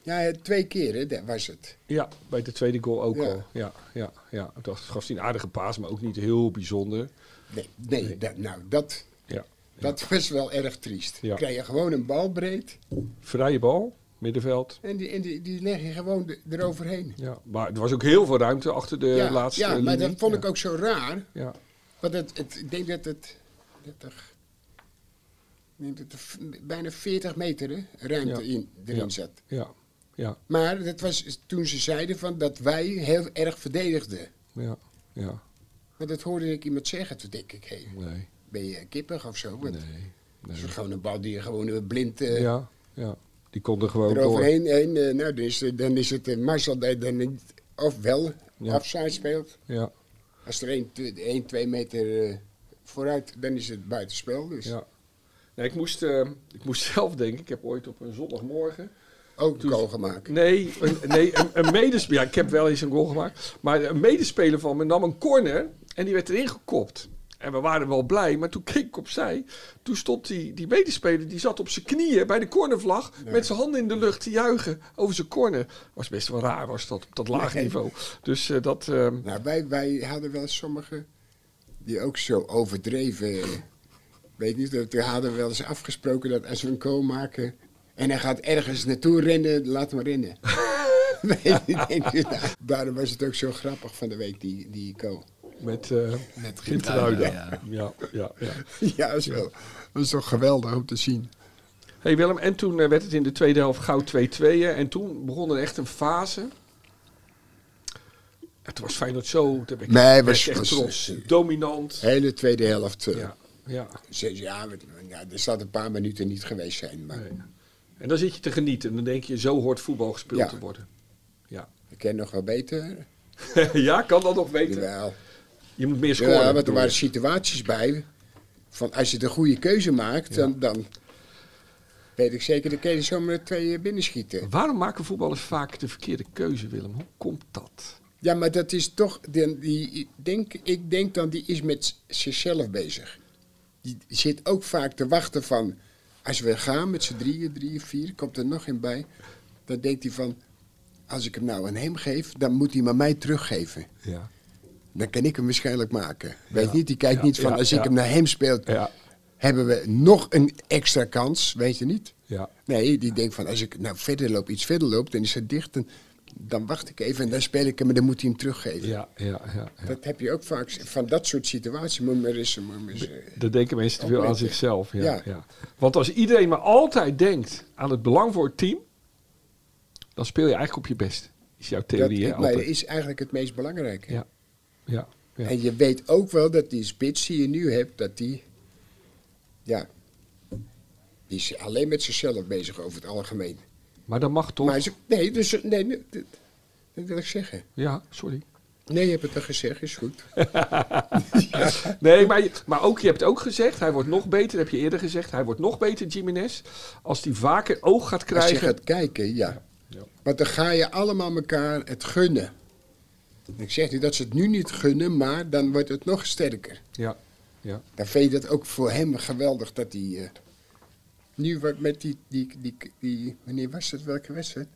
ja. twee keer, hè, dat was het. ja, bij de tweede goal ook Ja. al. Ja, ja, ja. Dat gaf hij een aardige paas, maar ook niet heel bijzonder. Nee, nee, Dat, nou, dat... Ja. Dat was wel erg triest. Ja. Krijg je gewoon een bal breed Vrije bal, middenveld. en die, en die, die leg je gewoon de- eroverheen. Ja. Maar er was ook heel veel ruimte achter de ja, laatste ja, maar linie. dat vond ik Ja. ook zo raar. Ja. Want het, het, ik denk dat het, dat er, ik denk dat er v- bijna 40 meter hè, ruimte Ja. in, erin Ja. zat. Ja. Ja. Maar dat was toen ze zeiden van dat wij heel erg verdedigden. Ja. Ja. Maar dat hoorde ik iemand zeggen. Toen denk ik, hé, Nee. ben je kippig of zo? Want Nee. dat is nee. gewoon een bal die je gewoon eh, blind eh, Ja. Ja. Die kon er gewoon door. eroverheen. Heen, eh, nou, dus, eh, dan is het eh, Marcel die dan niet, of wel Ja. afzijds speelt. Ja. Als er 1, 2 meter eh, vooruit, dan is het buitenspel. Dus. Ja. Nee, ik, moest, eh, ik moest zelf denken, ik heb ooit op een zondagmorgen Ook Dus- een goal gemaakt. Nee, een, nee, een, een medespeler. Ja, ik heb wel eens een goal gemaakt. Maar een medespeler van me nam een corner en die werd erin gekopt. En we waren wel blij, maar toen keek ik opzij. Toen stond die, die medespeler, die zat op zijn knieën bij de cornervlag. Met zijn handen in de lucht te juichen over zijn corner. Was best wel raar, was dat op dat laag niveau. Dus eh, dat. ehm, Nou, wij, wij hadden wel sommigen die ook zo overdreven. eh, weet niet, dat- toen hadden we wel eens afgesproken dat als we een goal maken. en hij gaat ergens naartoe rennen, laat maar rennen. Weet je, denk je, nou, daarom was het ook zo grappig van de week, die, die goal. met eh Met Gint Ruida. Ja, ja, ja. Ja, dat is, wel, dat is toch geweldig om te zien. Hey Willem, en toen eh, werd het in de tweede helft gauw 2-2. hè. En toen begon er echt een fase. Het was Feyenoord zo. Toen ben ik Nee, werd was- echt was- trots. Dominant. Hele tweede helft. eh, Ja, ja. Ze- Ja, we- ja, er staat een paar minuten niet geweest zijn. Maar Nee. En dan zit je te genieten. En dan denk je, zo hoort voetbal gespeeld Ja. te worden. Ja. ik ken nog wel beter. ja, kan dat nog weten. Jawel. Je moet meer scoren. Ja, want er bedoel waren je. situaties bij. Van als je de goede keuze maakt, dan, dan weet ik zeker, dan kun je zomaar er twee eh, binnenschieten. Waarom maken voetballers vaak de verkeerde keuze, Willem? Hoe komt dat? Ja, maar dat is toch. Die, die, denk, ik denk dan, die is met zichzelf bezig. Die zit ook vaak te wachten van. Als we gaan met z'n drieën, drieën, vier, komt er nog een bij. Dan denkt hij van. Als ik hem nou aan hem geef, dan moet hij maar mij teruggeven. Ja. Dan kan ik hem waarschijnlijk maken. Weet je niet, die kijkt niet van. ja, Als ja. ik hem naar hem speel, Ja. hebben we nog een extra kans. Weet je niet? Ja. Nee, die denkt van als ik nou verder loop, iets verder loop, dan is het dicht. En dan wacht ik even en dan speel ik hem en dan moet hij hem teruggeven. Ja, ja, ja. ja. Dat heb je ook vaak van dat soort situaties. Moet maar eens, moet maar eens, eh, Dat denken mensen te veel aan Opletten. zichzelf. Ja, ja. Ja. Want als iedereen maar altijd denkt aan het belang voor het team, dan speel je eigenlijk op je best. Is jouw dat, theorie, hè? nee, dat altijd. is eigenlijk het meest belangrijke. Ja, ja, ja. En je weet ook wel dat die spits die je nu hebt, dat die. Ja. Die is alleen met zichzelf bezig over het algemeen. Maar dat mag toch? Maar ze- nee, dus, nee, nee, dat, dat wil ik zeggen. Ja, sorry. Nee, je hebt het al gezegd, is goed. Nee, maar, je- maar ook, je hebt ook gezegd, hij wordt nog beter, dat heb je eerder gezegd, hij wordt nog beter, Jiménez, als hij vaker oog gaat Als je krijgen. gaat kijken, ja. Ja. Want dan ga je allemaal elkaar het gunnen. Ik zeg niet dat ze het nu niet gunnen, maar dan wordt het nog sterker. Ja, ja, Dan vind je dat ook voor hem geweldig dat hij. eh, nu wat met die, die, die, die. Wanneer was het? Welke wedstrijd?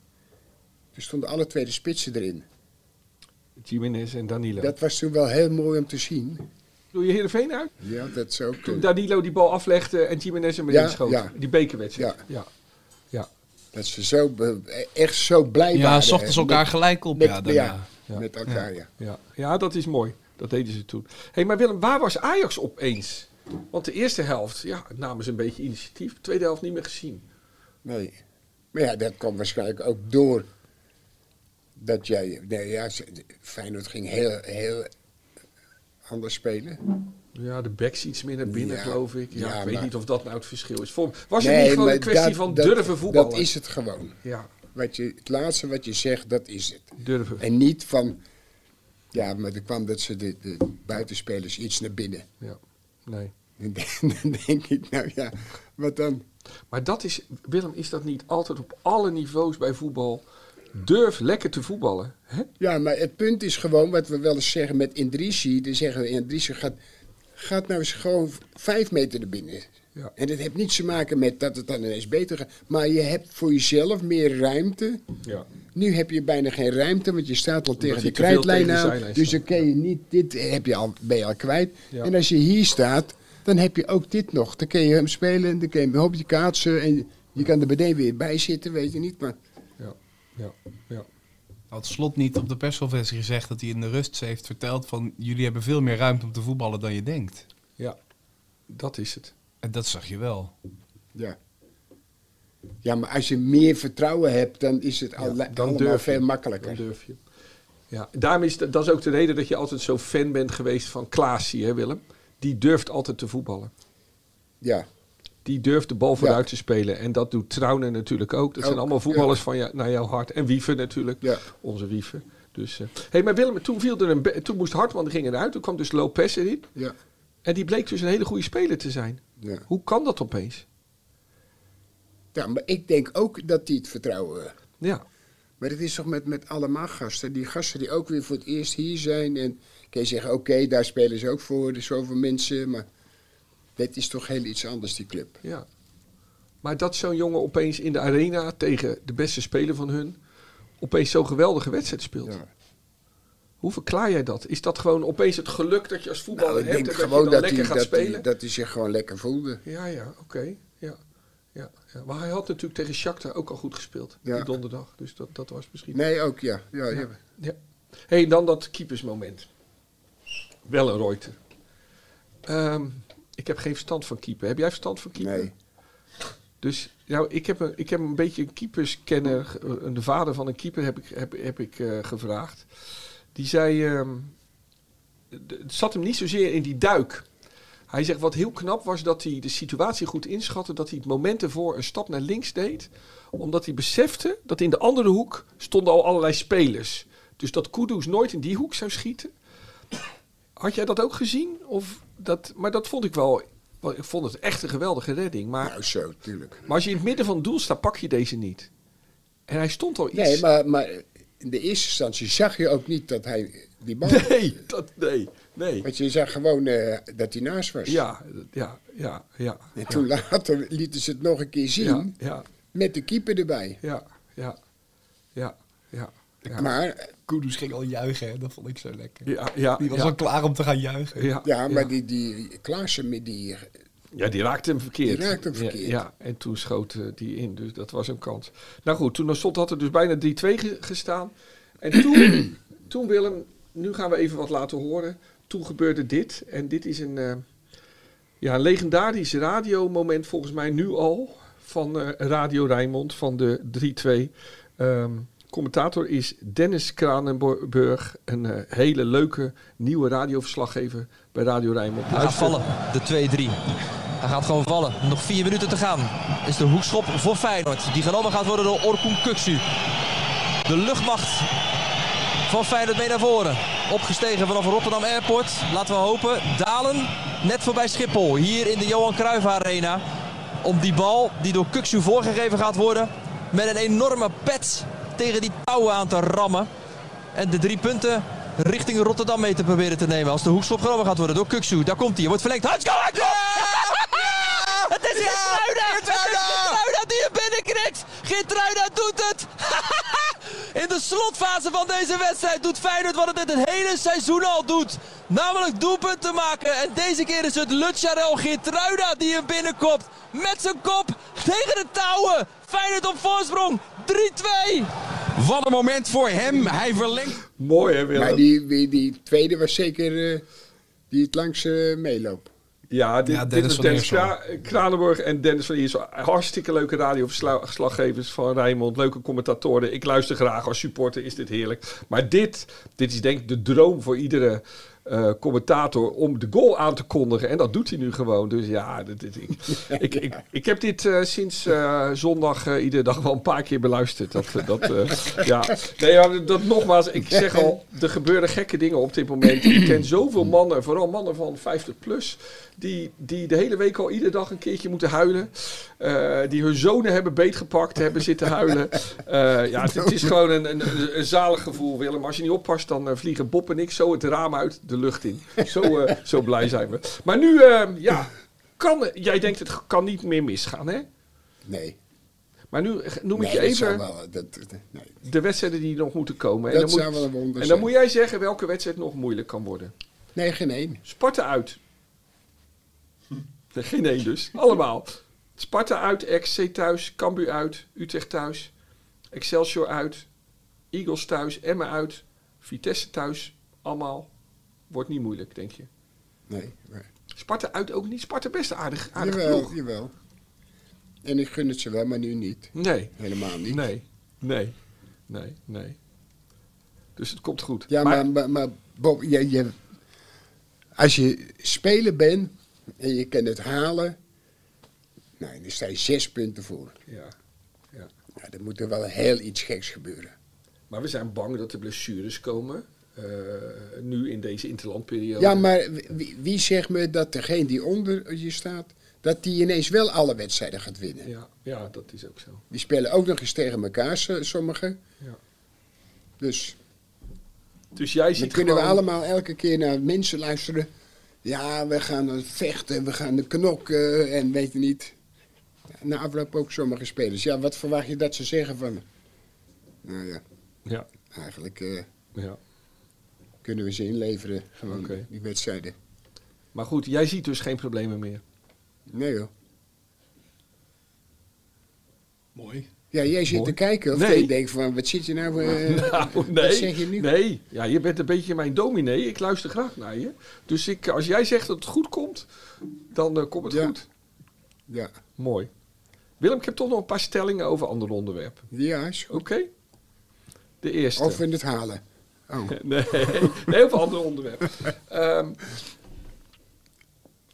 Er stonden alle twee de spitsen erin. Jiménez en Danilo. Dat was toen wel heel mooi om te zien. Doe je Heerenveen uit? Ja, dat eh, zou Toen kunnen. Danilo die bal aflegde en Jiménez hem Ja, erin schoot. ja. Die bekerwedstrijd. Ja. ja. ja. Dat ze zo be- echt zo blij Ja, waren. zochten ze hè, elkaar eh, met- gelijk op. Met, ja, ja, daarna. Ja. met elkaar, ja. Ja, ja dat is mooi. Dat deden ze toen. hey, maar Willem, waar was Ajax opeens? Want de eerste helft, ja, namen ze een beetje initiatief. Tweede helft niet meer gezien. Nee. Maar ja, dat kwam waarschijnlijk ook door. Dat jij. Nee, ja, ze- Feyenoord ging heel, heel anders spelen. Ja, de backs iets meer naar binnen, Ja. geloof ik. Ja, Ja, ik weet maar- niet of dat nou het verschil is. Voor, was het niet gewoon maar een kwestie dat- van dat- durven voetballen? Dat is het gewoon. Ja, Wat je, het laatste wat je zegt, dat is het. durven. En niet van. Ja, maar er kwam dat ze de, de buitenspelers iets naar binnen. Ja, nee. En dan denk ik, nou ja, wat dan? Maar dat is, Willem, is dat niet altijd op alle niveaus bij voetbal? Durf lekker te voetballen. Hè? Ja, maar het punt is gewoon wat we wel eens zeggen met Indrisi. Dan zeggen we, Indrisi gaat, gaat nou eens gewoon v- vijf meter naar binnen. Ja. En dat heeft niets te maken met dat het dan ineens beter gaat. Maar je hebt voor jezelf meer ruimte. Ja. Nu heb je bijna geen ruimte, want je staat al tegen je de te veel krijtlijn tegen de aan. zijlijn Dus staat, dan kun je niet, dit heb je al, ben je al kwijt. Ja. En als je hier staat, dan heb je ook dit nog. Dan kun je hem spelen, en dan kun je hem op je kaatsen. En je kan er meteen weer bij zitten, weet je niet. Maar Ja, ja, ja. Had Slot niet op de persconferentie gezegd dat hij in de rust heeft verteld van... jullie hebben veel meer ruimte om te voetballen dan je denkt. ja. Dat is het. En dat zag je wel. Ja. Ja, maar als je meer vertrouwen hebt, dan is het alle- allemaal durf je. veel makkelijker. Dan durf je. Ja, daarom is dat, dat is ook de reden dat je altijd zo fan bent geweest van Klaasie, hè Willem? Die durft altijd te voetballen. Ja. Die durft de bal vooruit te spelen. En dat doet Trauner natuurlijk ook. Dat zijn Ook, allemaal voetballers van jou, naar jouw hart. En Wieven natuurlijk. Ja. Onze Wieven. Dus, eh. hey, maar Willem, toen, viel er een be- toen moest Hartman ging eruit. Toen kwam dus Lopez erin. Ja. En die bleek dus een hele goede speler te zijn. Ja. Hoe kan dat opeens? ja, maar ik denk ook dat die het vertrouwen... Ja, Maar het is toch met, met allemaal gasten. Die gasten die ook weer voor het eerst hier zijn. En kun je zeggen, oké, daar spelen ze ook voor. Er zijn zoveel mensen. Maar dit is toch heel iets anders, die club. ja. Maar dat zo'n jongen opeens in de arena tegen de beste speler van hun... opeens zo'n geweldige wedstrijd speelt. Ja. Hoe verklaar jij dat? Is dat gewoon opeens het geluk dat je als voetballer Nou, ik hebt en denk dat gewoon je dan dat hij lekker gaat dat die- spelen? dat die zich gewoon lekker voelde. Ja, ja, oké. Ja. Ja, ja. Maar hij had natuurlijk tegen Shakhtar ook al goed gespeeld. Ja. Die donderdag. Dus dat, dat was misschien... Nee, ook, ja. ja, ja. Ja. Hé, hey, dan dat keepersmoment. Wel een Reuter. Ehm, ik heb geen verstand van keeper. Heb jij verstand van keeper? Nee. Dus nou, ik, heb een, ik heb een beetje een keeperskenner, ge- een- de vader van een keeper heb ik, heb, heb ik eh, gevraagd. Die zei, ehm, d- het zat hem niet zozeer in die duik. Hij zegt wat heel knap was dat hij de situatie goed inschatte, dat hij het moment ervoor een stap naar links deed, omdat hij besefte dat in de andere hoek stonden al allerlei spelers. Dus dat Kudus nooit in die hoek zou schieten. Had jij dat ook gezien? Of dat, maar dat vond ik wel Want ik vond het echt een geweldige redding. Maar, Nou, zo, tuurlijk. maar als je in het midden van het doel staat, pak je deze niet. En hij stond al iets. Nee, maar, maar in de eerste instantie zag je ook niet dat hij die bal... Nee, dat, nee, nee. Want je zag gewoon eh, dat hij naast was. Ja, ja, ja, ja. En toen later lieten ze het nog een keer zien. Ja, ja, Met de keeper erbij. ja, ja, ja, ja. Ja, Maar, Kudus ging al juichen, hè? dat vond ik zo lekker. ja, ja, Die was ja, al klaar om te gaan juichen. ja, ja, maar ja. Die, die Klaassen, met die, Ja, die raakte hem verkeerd. Die raakte hem verkeerd. Ja, ja, en toen schoot eh, die in, dus dat was een kans. Nou goed, toen stond had er dus bijna 3-2 ge- gestaan. En toen, toen Willem, nu gaan we even wat laten horen. Toen gebeurde dit. En dit is een, eh, ja, een legendarisch radiomoment volgens mij nu al. Van eh, Radio Rijnmond van de 3-2. Ehm, commentator is Dennis Kranenburg. Een eh, hele leuke nieuwe radioverslaggever bij Radio Rijnmond. Hij gaat vallen, de 2-3. Hij gaat gewoon vallen. Nog vier minuten te gaan. Is de hoekschop voor Feyenoord. Die genomen gaat worden door Orkun Kuksu. De luchtmacht van Feyenoord mee naar voren. Opgestegen vanaf Rotterdam Airport. Laten we hopen. Dalen net voorbij Schiphol. Hier in de Johan Cruijff Arena. Om die bal die door Kuksu voorgegeven gaat worden. Met een enorme pet tegen die touwen aan te rammen. En de drie punten richting Rotterdam mee te proberen te nemen. Als de hoekschop genomen gaat worden door Kuksu. Daar komt hij. Wordt verlengd. Hansko! Hansko! Het is Geertruida! Het is Geertruida die hem binnenknikt! Geertruida doet het! In de slotfase van deze wedstrijd doet Feyenoord wat het het hele seizoen al doet. Namelijk doelpunten maken. En deze keer is het Lucharel Geertruida die hem binnenkomt. Met zijn kop tegen de touwen. Feyenoord op voorsprong. 3-2. Wat een moment voor hem. Hij verlengt. Mooi hè Willem? maar die, die, die tweede was zeker eh, die het langs eh meeloopt. Ja, dit, Ja, dit Dennis was van Dennis Eersel. Kra- Kranenburg en Dennis van Iersel. Hartstikke leuke radioverslaggevers van Rijnmond. Leuke commentatoren. Ik luister graag. Als supporter is dit heerlijk. Maar dit, dit is denk ik de droom voor iedere eh, commentator om de goal aan te kondigen. En dat doet hij nu gewoon. Dus ja, dit, dit- ik, ik, ik, ik heb dit eh, sinds eh, zondag eh, iedere dag wel een paar keer beluisterd. Dat, eh, dat, eh, ja. Nee, ja, dat nogmaals. Ik zeg al, er gebeuren gekke dingen op dit moment. Ik ken zoveel mannen, vooral mannen van 50 plus, die, die de hele week al iedere dag een keertje moeten huilen. Eh, die hun zonen hebben beetgepakt, hebben zitten huilen. Eh, ja, het, het is gewoon een, een, een- een zalig gevoel, Willem. Als je niet oppast, dan eh, vliegen Bob en ik zo het raam uit de lucht in. Zo, eh, zo blij zijn we. Maar nu, eh, ja, kan, jij denkt het kan niet meer misgaan, hè? Nee. Maar nu eh, noem ik nee, je dat zou even wel, dat, dat- nee. de wedstrijden die nog moeten komen. Dat en dan zou moet, wel een wonder En dan zijn. moet jij zeggen welke wedstrijd nog moeilijk kan worden. nee, geen één. Sparta uit. Nee, Geen één dus. Allemaal. Sparta uit, XC thuis, Cambuur uit, Utrecht thuis, Excelsior uit, Eagles thuis, Emmen uit, Vitesse thuis. Allemaal. Wordt niet moeilijk, denk je. Nee. maar- Sparta uit ook niet. Sparta best aardig, aardig Jawel, ploeg. jawel. En ik gun het ze wel, maar nu niet. Nee. Helemaal niet. Nee, nee, nee, nee. Dus het komt goed. Ja, maar, maar, maar Bob, je, je, als je speler bent en je kan het halen, nou, dan sta je zes punten voor. Ja, ja. Nou, dan moet er wel heel iets geks gebeuren. maar we zijn bang dat er blessures komen. eh, nu in deze interlandperiode. Ja, maar wie, wie zegt me dat degene die onder je staat, dat die ineens wel alle wedstrijden gaat winnen? Ja, ja, dat is ook zo. Die spelen ook nog eens tegen elkaar, s- sommigen. Ja. Dus Dus jij dan ziet kunnen we gewoon- allemaal elke keer naar mensen luisteren. Ja, we gaan eh, vechten, we gaan de knokken en weet je niet. Na afloop ook sommige spelers. Ja, wat verwacht je dat ze zeggen van me? Nou ja, Ja, eigenlijk eh, ja. kunnen we ze inleveren, gewoon Oké. die wedstrijden. Maar goed, jij ziet dus geen problemen meer. Nee hoor. Mooi. Ja, jij zit Mooi. te kijken of Nee. je denkt van, wat zit je nou... eh, Nou, nee. Wat zeg je nu? Nee. Ja, je bent een beetje mijn dominee. Ik luister graag naar je. Dus ik, als jij zegt dat het goed komt, dan eh, komt het Ja. goed. Ja. Mooi. Willem, ik heb toch nog een paar stellingen over andere onderwerpen. ja, is Oké? goed. De eerste. Of in het halen. Oh, Nee, nee over andere onderwerpen. Ehm,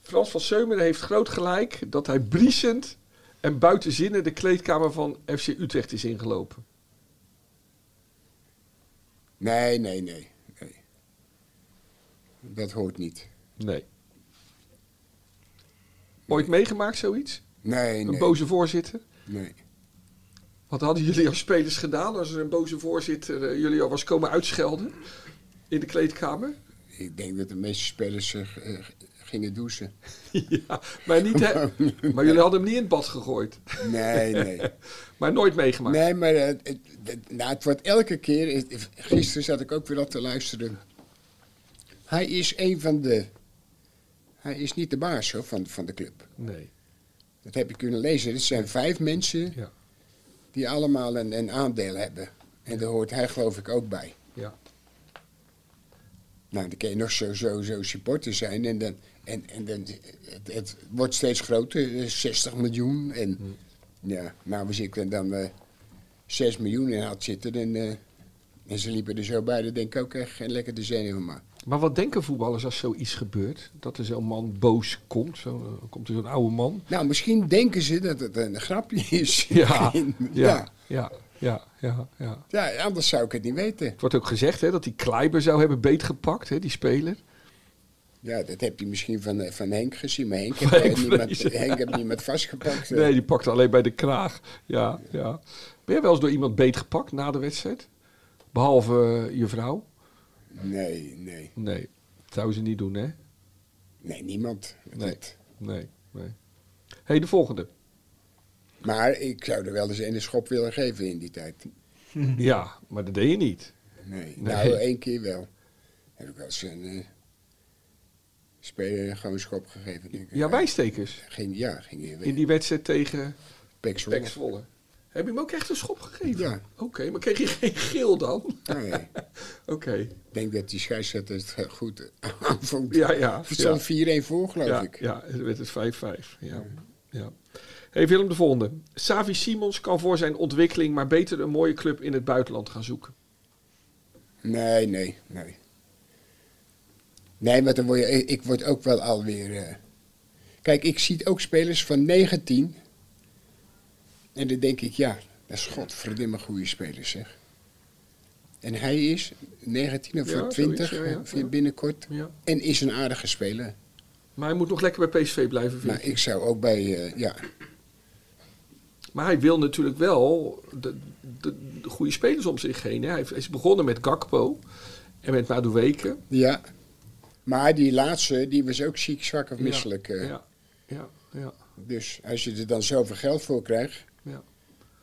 Frans van Seumeren heeft groot gelijk dat hij briesend en buitenzinnen de kleedkamer van FC Utrecht is ingelopen. nee, nee, nee, nee. Dat hoort niet. Nee. Ooit meegemaakt zoiets? Nee, Een nee. boze voorzitter? nee. Wat hadden jullie als spelers gedaan als er een boze voorzitter eh, jullie al was komen uitschelden? In de kleedkamer? Ik denk dat de meeste spelers eh, g- eh, gingen douchen. ja, maar, niet, hè? maar jullie hadden hem niet in het bad gegooid. Nee, nee. Maar nooit meegemaakt. Nee, maar eh, het, het- het- nou, het wordt elke keer. het- Gisteren zat ik ook weer op te luisteren. Hij is een van de. Hij is niet de baas hoor, van, van de club. Nee. Dat heb je kunnen lezen. Het zijn vijf mensen Ja. die allemaal een, een aandeel hebben. En daar hoort hij geloof ik ook bij. Ja. Nou, dan kun je nog zo, zo, zo supporter zijn. En, dan, en, en dan, het, het wordt steeds groter, eh, 60 miljoen. En Mm. ja, nou, als ik er dan eh 6 miljoen in had zitten, dan, eh, en ze liepen er zo bij, dan denk ik ook echt geen lekker de zenuwen maar. Maar wat denken voetballers als zoiets gebeurt? Dat er zo'n man boos komt? Zo, eh, komt er zo'n oude man? Nou, misschien denken ze dat het een grapje is. Ja. ja. Ja. ja. Ja. Ja. Ja. ja. anders zou ik het niet weten. Het wordt ook gezegd hè, dat die Kleiber zou hebben beetgepakt, hè, die speler. Ja, dat heb je misschien van, eh, van Henk gezien. Maar Henk Henk heeft eh, niemand, Vrezen. Henk heeft niemand vastgepakt. eh. Nee, die pakte alleen bij de kraag. Ja, ja. Ben jij wel eens door iemand beetgepakt na de wedstrijd? Behalve eh, je vrouw? nee, nee, Nee, dat zou ze niet doen, hè? nee, niemand. Nee. Dat- Nee, nee. hey, de volgende. Maar ik zou er wel eens een schop willen geven in die tijd. Ja, maar dat deed je niet. Nee. Nee. Nou, één keer wel. Heb ik wel eens een eh, speler gewoon een schop gegeven. Denk ik. Eh, Ja, wijstekers. Ging, ja, ging je weer. In die wedstrijd tegen Pek Zwolle. Pek Zwolle. Heb je hem ook echt een schop gegeven? Ja. Oké, maar kreeg je geen geel dan? Nee. Ik Oké. denk dat die scheidsrechter het eh, goed aanvond. Ja, ja, Er stond 4-1 voor, geloof Ja, ik. ja, het werd het 5-5. Ja. Ja. Hey Willem, de volgende. Savi Simons kan voor zijn ontwikkeling maar beter een mooie club in het buitenland gaan zoeken. Nee, nee, nee. Nee, maar dan word je, ik word ook wel alweer. eh, Kijk, ik zie ook spelers van 19. En dan denk ik, ja, dat is godverdomme goede spelers, zeg. En hij is 19 of Ja, 20 zoiets, ja, ja, of hier ja. binnenkort. Ja. En is een aardige speler. Maar hij moet nog lekker bij PSV blijven, vind Maar ik. ik zou ook bij, eh, ja, Maar hij wil natuurlijk wel de, de, de goede spelers om zich heen. Hè. Hij heeft- hij is begonnen met Gakpo en met Madueke. ja. Maar die laatste, die was ook ziek, zwak of Ja, misselijk. eh. Ja, ja, ja, Dus als je er dan zoveel geld voor krijgt, ja.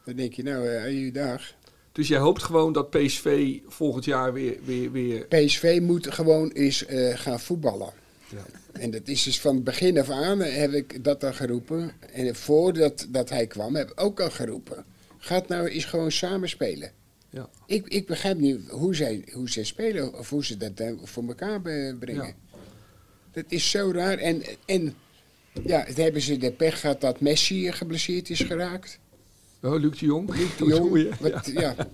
dan denk je, nou, eh je dag. Dus jij hoopt gewoon dat PSV volgend jaar weer... weer, weer PSV moet gewoon eens eh, gaan voetballen. Ja. En dat is dus van het begin af aan eh, heb ik dat al geroepen. En voordat dat hij kwam heb ik ook al geroepen. Gaat nou eens gewoon samenspelen. ja, Ik, ik begrijp niet hoe zij, hoe zij spelen of hoe ze dat dan voor elkaar be- brengen. Ja. Dat is zo raar. En, en ja, het hebben ze de pech gehad dat Messi eh, geblesseerd is geraakt. oh, Luc de Jong. Luc De Jong. Wat, ja. Ja.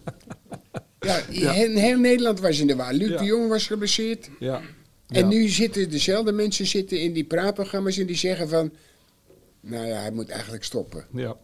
heel- heel Nederland was in de war. Luc Ja. de Jong was geblesseerd. Ja. En Ja. nu zitten dezelfde mensen zitten in die praatprogramma's en die zeggen van... Nou ja, hij moet eigenlijk stoppen. Ja,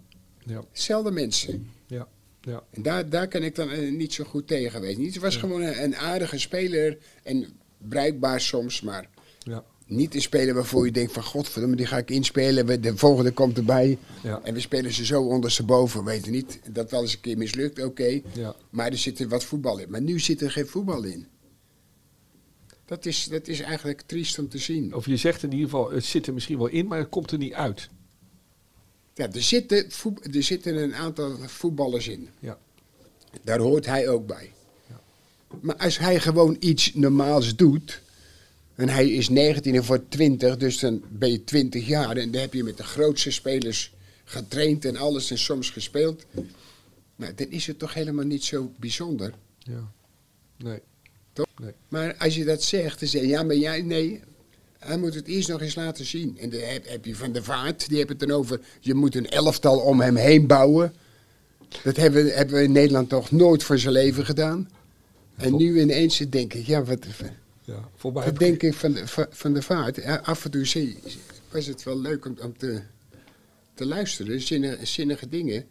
ja, Dezelfde mensen. ja, ja. En daar, daar kan ik dan eh, niet zo goed tegen wezen. Niet- Het was gewoon een, een aardige speler en bruikbaar soms, maar ja. niet een speler waarvoor je denkt van... Godverdomme, die ga ik inspelen, we- de volgende komt erbij. Ja. En we spelen ze zo ondersteboven, weet je niet. Dat wel eens een keer mislukt, oké. Ja. Maar er zit er wat voetbal in. Maar nu zit er geen voetbal in. Dat is, dat is eigenlijk triest om te zien. Of je zegt in ieder geval, het zit er misschien wel in, maar het komt er niet uit. Ja, er zitten, voet- er zitten een aantal voetballers in. Ja. Daar hoort hij ook bij. Maar als hij gewoon iets normaals doet. En hij is 19 en wordt 20, dus dan ben je 20 jaar. En dan heb je met de grootste spelers getraind en alles en soms gespeeld. Nou, dan is het toch helemaal niet zo bijzonder. ja. Nee. Maar als je dat zegt, dan zeg je ja, maar jij, nee. Hij moet het eerst nog eens laten zien. En dan heb, heb je Van der Vaart, die hebben het dan over. Je moet een elftal om hem heen bouwen. Dat hebben, we- hebben we in Nederland toch nooit voor zijn leven gedaan. En nu ineens denk ik, ja, wat, Ja. Voor mij wat heb ik- denk ik van, de- van- van der Vaart? Ja, Af en toe zie- was het wel leuk om, om te, te luisteren, zinnige, zinnige dingen.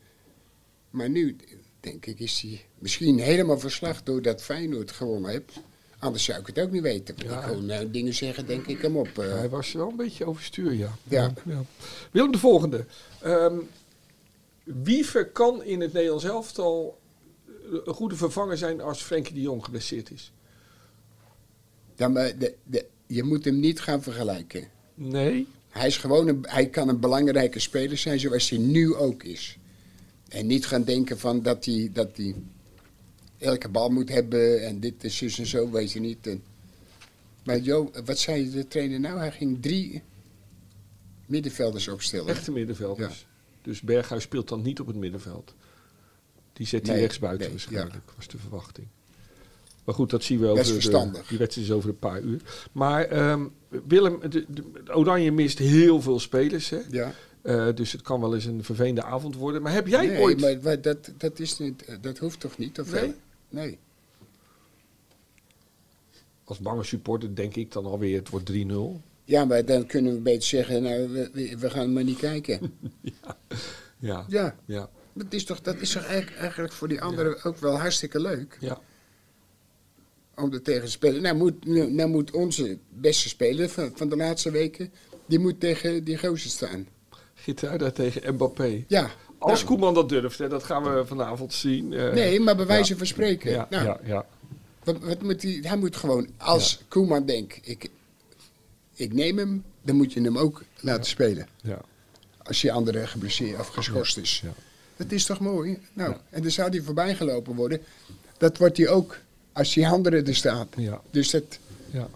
Maar nu denk ik, is hij misschien helemaal verslag door dat Feyenoord gewonnen heeft. Anders zou ik het ook niet weten. Ik kon eh, dingen zeggen, denk ik, kom op. eh. Hij was wel een beetje overstuur, ja. Ja. Willem, de volgende. Ehm Wiever kan in het Nederlands elftal eh, een goede vervanger zijn als Frenkie de Jong geblesseerd is. Ja, maar eh, de, de, je moet hem niet gaan vergelijken. Nee. Hij, is gewoon een, hij kan een belangrijke speler zijn zoals hij nu ook is. En niet gaan denken van dat hij, dat hij elke bal moet hebben en dit is zus en zo, weet je niet. En- maar Jo, wat zei de trainer nou? Hij ging drie middenvelders opstellen. Echte middenvelders. Dus Berghuis speelt dan niet op het middenveld. Die zet hij Nee, rechtsbuiten nee, waarschijnlijk, was de verwachting. Maar goed, dat zien we over Best de, verstandig. die wedstrijd is over een paar uur. Maar ehm, Willem, de, de- Oranje mist heel veel spelers. Hè? Ja. Eh, dus het kan wel eens een vervelende avond worden. Maar heb jij nee, ooit... maar wa- dat, dat, is niet, dat hoeft toch niet? Of Nee? wel? Nee. Als bange supporter denk ik dan alweer, het wordt 3-0. Ja, maar dan kunnen we beter zeggen, nou, we- we, we gaan maar niet kijken. Ja. ja. ja. ja. Dat is toch, dat is toch eigenlijk, eigenlijk voor die anderen ook wel hartstikke leuk om er tegen te spelen. Nou moet, nou, nou moet onze beste speler van, van de laatste weken, die moet tegen die gozer staan. Gituida tegen Mbappé. Ja. Als Nou, Koeman dat durft, hè, dat gaan we vanavond zien. eh. Nee, maar bij wijze van spreken. Ja, nou, ja, ja. Wat, wat moet hij, hij moet gewoon, als Koeman denkt, ik, ik neem hem, dan moet je hem ook laten spelen. ja. Als je andere geblesseerd of geschorst is. Ja. Dat is toch mooi? Nou, en dan zou hij voorbij gelopen worden. Dat wordt hij ook als die andere er staat. Ja. Dus dat, ja.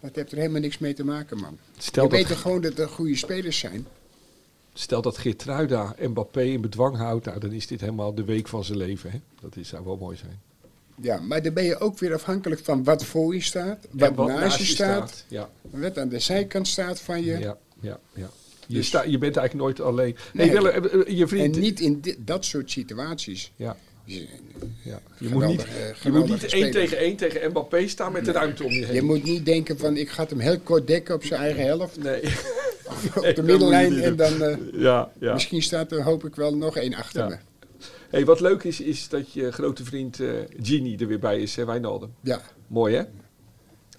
dat heeft er helemaal niks mee te maken, man. Stel je dat- weet toch gewoon dat er goede spelers zijn? Stel dat Geertruida Mbappé in bedwang houdt, nou, dan is dit helemaal de week van zijn leven. Hè? Dat is, zou wel mooi zijn. Ja, maar dan ben je ook weer afhankelijk van wat voor je staat. Wat, En naast je staat. Ja, Wat aan de zijkant staat van je. ja, ja. ja. Je, Dus- sta, je bent eigenlijk nooit alleen. Nee, Nee. Willem, eh, eh, je En vriend. niet in di- dat soort situaties. Ja, Je, ja. Je, moet niet, Geweldige- je moet niet geweldige één speler. tegen één tegen Mbappé staan met de ruimte om je heen. je moet niet denken van ik ga hem heel kort dekken op zijn eigen helft. Nee. op de middenlijn en dan... eh, ja, ja. Misschien staat er hoop ik wel nog één achter Ja. me. Hey, wat leuk is, is dat je grote vriend eh Genie er weer bij is, hè, Wijnaldum. Ja, Mooi, hè?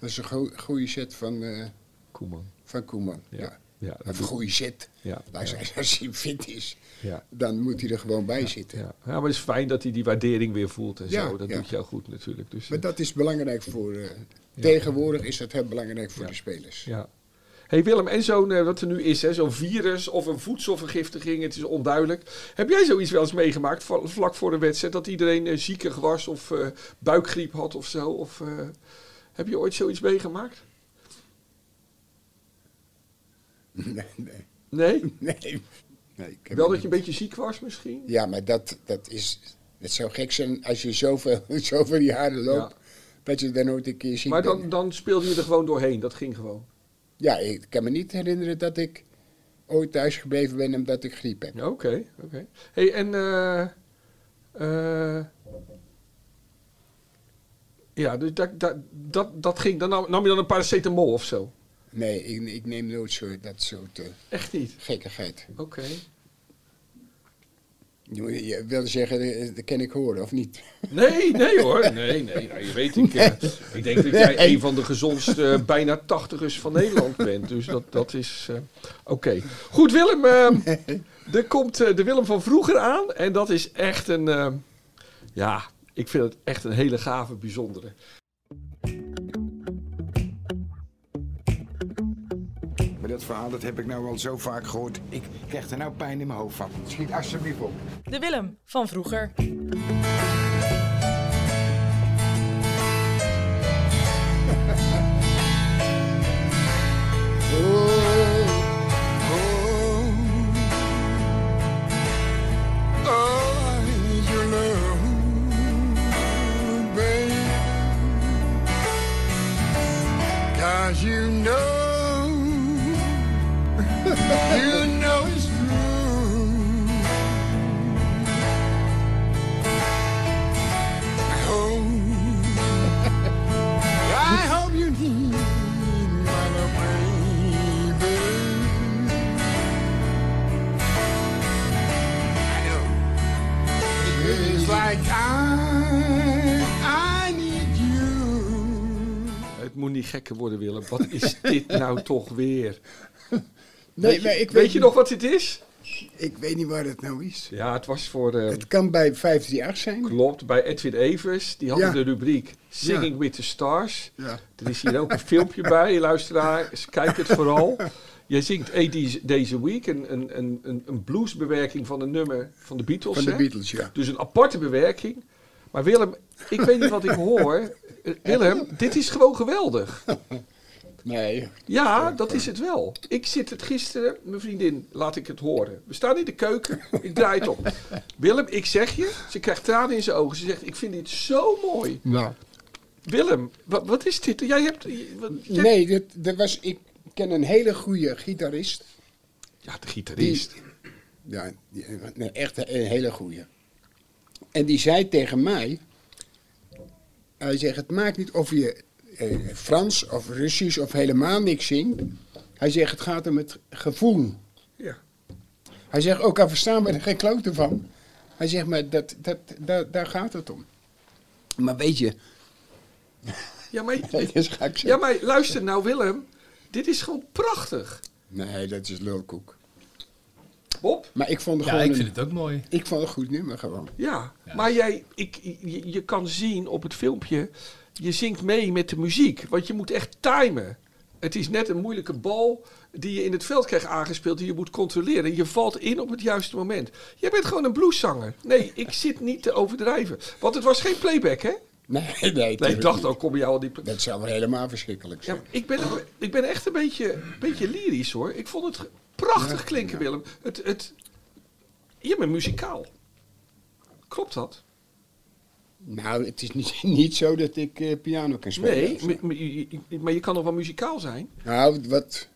dat is een go- goede set van, eh, Koeman. van Koeman. Ja. Ja. Ja, dat Of een goede set. Ja. Nou, Als, als hij fit is, Ja. dan moet hij er gewoon bij zitten. Ja. ja, maar het is fijn dat hij die waardering weer voelt en Ja, zo. Dat ja. doet jou goed natuurlijk. Dus, Maar eh, dat is belangrijk voor... eh, Tegenwoordig is dat heel belangrijk voor Ja. de spelers. ja. hey Willem, en zo'n, eh, wat er nu is, hè, zo'n virus of een voedselvergiftiging, het is onduidelijk. Heb jij zoiets wel eens meegemaakt va- vlak voor de wedstrijd? Dat iedereen eh, ziekig was of eh, buikgriep had of zo? Of, eh, heb je ooit zoiets meegemaakt? Nee, nee, Nee? nee. nee ik heb Wel het dat je een beetje ziek was misschien? niet. Ja, maar dat, dat is... Het zou gek zijn als je zoveel, zoveel jaren loopt... dat je dan nooit een keer ziet. Maar dan, dan speelde je er gewoon doorheen, dat ging gewoon. Ja, ik kan me niet herinneren dat ik ooit thuis gebleven ben omdat ik griep heb. Ja, Oké, oké. hey, en... eh, eh, ja, dus dat, dat, dat, dat ging. Dan nam, nam je dan een paracetamol of zo? Nee, ik, ik neem nooit zo, dat soort eh, Echt niet? gekkigheid. Oké. Je moet- Je wilde zeggen, eh, dat kan ik horen, of niet? Nee, nee hoor. Nee, nee. Nou, je weet, ik, eh, ik denk dat jij een van de gezondste eh, bijna tachtigers van Nederland bent. Dus dat, dat is... eh, Oké. Goed, Willem. eh, er komt eh, de Willem van vroeger aan. En dat is echt een... eh, ja, ik vind het echt een hele gave, bijzondere. Maar dat verhaal dat heb ik nou al zo vaak gehoord. Ik krijg er nou pijn in mijn hoofd van. Schiet alsjeblieft op. De Willem van vroeger. Oh, Cause you know, you know it's true. I hope- I hope you need my love, baby. I know it feels like I, I need you. moet niet gekker worden, Willem. Wat is dit nou toch weer? Nee, weet je, maar ik weet weet, je nog wat dit is? Ik weet niet waar dat nou is. Ja, het was voor... eh, Het kan bij 538 zijn. Klopt, bij Edwin Evers. Die had Ja. de rubriek Singing Ja. with the Stars. Ja. Er is hier ook een filmpje bij, luisteraars. Kijk het vooral. Jij zingt Hey These- Deze Week, een, een, een, een- een bluesbewerking van een nummer van de Beatles. Van de hè? Beatles, ja. Dus een aparte bewerking. Maar Willem, ik weet niet wat ik hoor. Eh, Willem, dit is gewoon geweldig. Nee, Ja, dat is het wel. Ik zit het gisteren, mijn vriendin, laat ik het horen. We staan in de keuken, ik draai het op. Willem, ik zeg je, ze krijgt tranen in zijn ogen. Ze zegt, ik vind dit zo mooi. nou. Willem, wat, wat is dit? Jij hebt... je- wat- jij- Nee, dat, dat was, ik ken een hele goede gitarist. Ja, de Die- gitarist. ja, die- nee, echt een hele goede. En die zei tegen mij: Hij zegt, het maakt niet of je eh, Frans of Russisch of helemaal niks zingt. Hij zegt, het gaat om het gevoel. Ja. Hij zegt, ook al verstaan we er geen klote van. Hij zegt, maar dat, dat, daar- daar gaat het om. Maar weet je, Ja, maar, dat is gek. zo. ja, maar luister nou, Willem. Dit is gewoon prachtig. Nee, dat is lulkoek. Bob? Maar ik vond het Ja, gewoon ik vind een, het ook mooi. ik vond het een goed nummer gewoon. Ja, maar jij, ik, je, je kan zien op het filmpje, je zingt mee met de muziek. Want je moet echt timen. Het is net een moeilijke bal die je in het veld krijgt aangespeeld, die je moet controleren. Je valt in op het juiste moment. Jij bent gewoon een blueszanger. Nee, ik zit niet te overdrijven. Want het was geen playback, hè? Nee, nee, Nee, tuurlijk ik dacht niet. al, kom je al die... pla- Dat zou wel helemaal verschrikkelijk Ja, zijn. maar ik, ben, ik ben echt een beetje, beetje lyrisch hoor. Ik vond het ge- prachtig klinken, Willem. Het, het, je bent muzikaal. Klopt dat? Nou, het is niet, niet zo dat ik eh, piano kan spelen. Nee, of zo. maar- maar je- je- maar je kan nog wel muzikaal zijn. Nou, wat.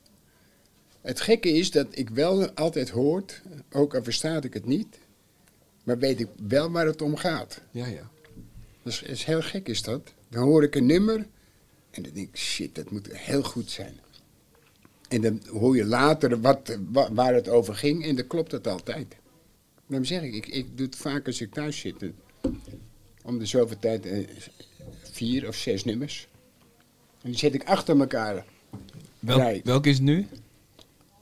Het gekke is dat ik wel altijd hoort, ook al verstaat ik het niet, maar weet ik wel waar het om gaat. Ja, ja. Dat is, is heel gek, is dat? Dan hoor ik een nummer en dan denk ik, shit, dat moet heel goed zijn. En dan hoor je later wat, wa- waar het over ging en dan klopt dat altijd. Dan zeg ik, ik, ik doe het vaak als ik thuis zit. eh, Om de zoveel tijd eh, vier of zes nummers. En die zet ik achter elkaar. Nee. Welke is het nu?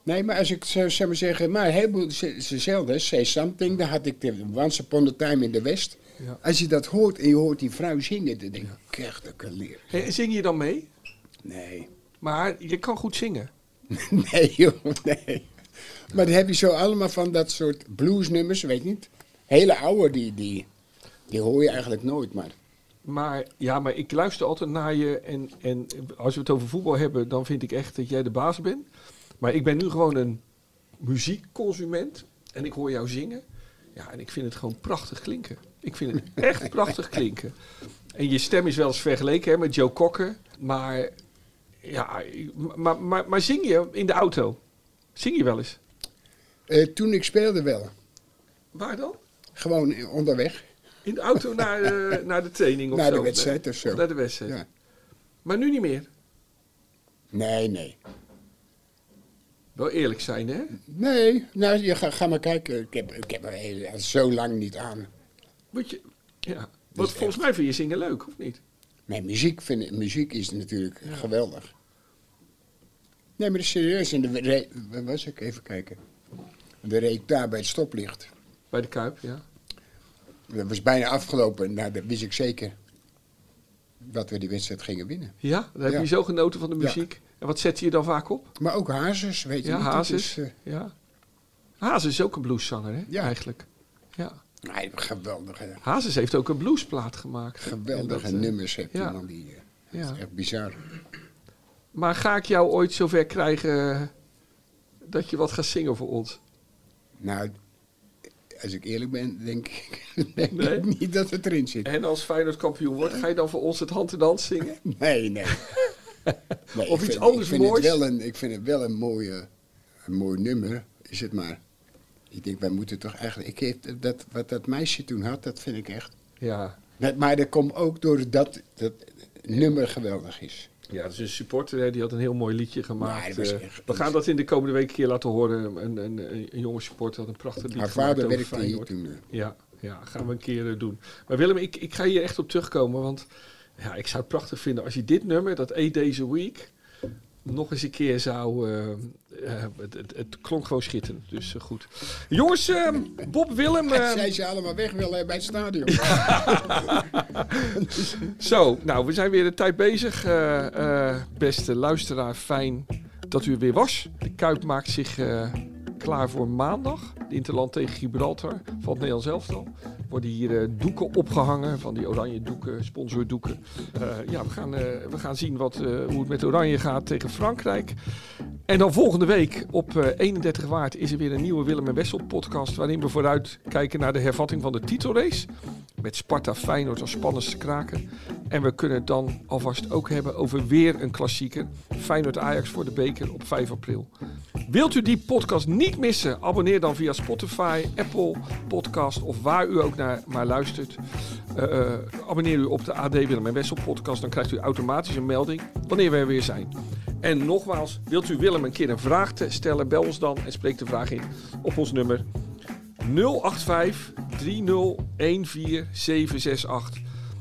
Nee, maar als ik zou, zou maar zeggen, maar een heleboel is is hetzelfde. hè. Say something, daar had ik de Once Upon a Time in the West. Ja. Als je dat hoort en je hoort die vrouw zingen, dan denk ik, echt, dat kan leren. Hey, en zing je dan mee? Nee. Maar je kan goed zingen. nee, joh, nee. Maar dan heb je zo allemaal van dat soort bluesnummers, weet je niet. Hele oude, die, die, die hoor je eigenlijk nooit, maar... Maar, ja, maar ik luister altijd naar je. En, en als we het over voetbal hebben, dan vind ik echt dat jij de baas bent. Maar ik ben nu gewoon een muziekconsument. En ik hoor jou zingen. Ja, en ik vind het gewoon prachtig klinken. Ik vind het echt prachtig klinken. En je stem is wel eens vergeleken hè, met Joe Cocker. Maar, ja, maar, maar, maar zing je in de auto? Zing je wel eens? Eh, toen ik speelde wel, Waar dan? gewoon eh, onderweg, In de auto naar, eh, naar de training of naar zo? de wedstrijd of zo. Naar de wedstrijd. Ja. Maar nu niet meer. Nee, nee. Wel eerlijk zijn, hè? Nee, nou, je ga, ga maar kijken. Ik heb, ik heb er heel- zo lang niet aan. Moet je, ja. Dus Want volgens mij vind je zingen leuk, of niet? Nee, muziek, vind, ik- muziek is natuurlijk geweldig. Nee, maar dat is serieus. En de, re- waar was ik? Even kijken. De reed daar bij het stoplicht. Bij de Kuip, ja. Dat was bijna afgelopen. Nou, dat wist ik zeker. Dat we die wedstrijd gingen winnen. Ja, dan heb Ja. je zo genoten van de Ja. muziek. En wat zet je dan vaak op? Maar ook Hazes, weet je Ja, niet. dat Hazes. is, eh, ja. Hazes is ook een blueszanger, hè? Ja. Eigenlijk. Ja. nee, geweldige, Hazes heeft ook een bluesplaat gemaakt. geweldige En dat, eh, nummers heb je ja. man. Die, eh, Ja. dat is Echt bizar. Maar ga ik jou ooit zover krijgen eh, dat je wat gaat zingen voor ons? Nou, als ik eerlijk ben, denk ik, denk Nee? ik niet dat het erin zit. En als Feyenoord kampioen wordt, ga je dan voor ons het hand in hand zingen? Nee, nee. Nee, Of ik iets vind- anders ik vind moois? Het wel een, ik vind het wel een, mooie, een mooi nummer, is het maar. Ik denk, wij moeten toch eigenlijk... Ik heb, dat, wat dat meisje toen had, dat vind ik echt... Ja. Nee, Maar dat komt ook doordat dat nummer geweldig is. Ja, dat is een supporter, hè, die had een heel mooi liedje gemaakt. Nee, dat was Eh, echt- we gaan dat in de komende week een keer laten horen. Een, een, een, een jonge supporter had een prachtig lied Haar gemaakt vader over werkte hier Feyenoord. Ehm. toen. eh. Ja, ja, gaan we een keer eh, doen. Maar Willem, ik, ik ga hier echt op terugkomen, want Ja, ik zou het prachtig vinden als je dit nummer, dat Eight Days a Week, nog eens een keer zou... eh, eh, het, het, het klonk gewoon schitterend, dus eh, goed. Jongens, eh, Bob Willem... eh, Zij ze allemaal weg willen hè, bij het stadion. Zo, nou, we zijn weer de tijd bezig. eh, eh, beste luisteraar, fijn dat u er weer was. De Kuip maakt zich eh, klaar voor maandag. De Interland tegen Gibraltar van het Nederlands elftal. Worden hier eh, doeken opgehangen, van die oranje doeken, sponsordoeken. Eh, ja, we gaan, eh, we gaan zien wat, eh, hoe het met Oranje gaat tegen Frankrijk. En dan volgende week op eh, 31 maart is er weer een nieuwe Willem en Wessel podcast... waarin we vooruitkijken naar de hervatting van de titelrace... Met Sparta Feyenoord als spannendste kraken. En we kunnen het dan alvast ook hebben over weer een klassieker. Feyenoord Ajax voor de beker op 5 april. Wilt u die podcast niet missen? Abonneer dan via Spotify, Apple Podcast of waar u ook naar maar luistert. Eh, eh, abonneer u op de AD Willem en Wessel podcast. Dan krijgt u automatisch een melding wanneer we er weer zijn. En nogmaals, wilt u Willem een keer een vraag te stellen? Bel ons dan en spreek de vraag in op ons nummer 085 3014768.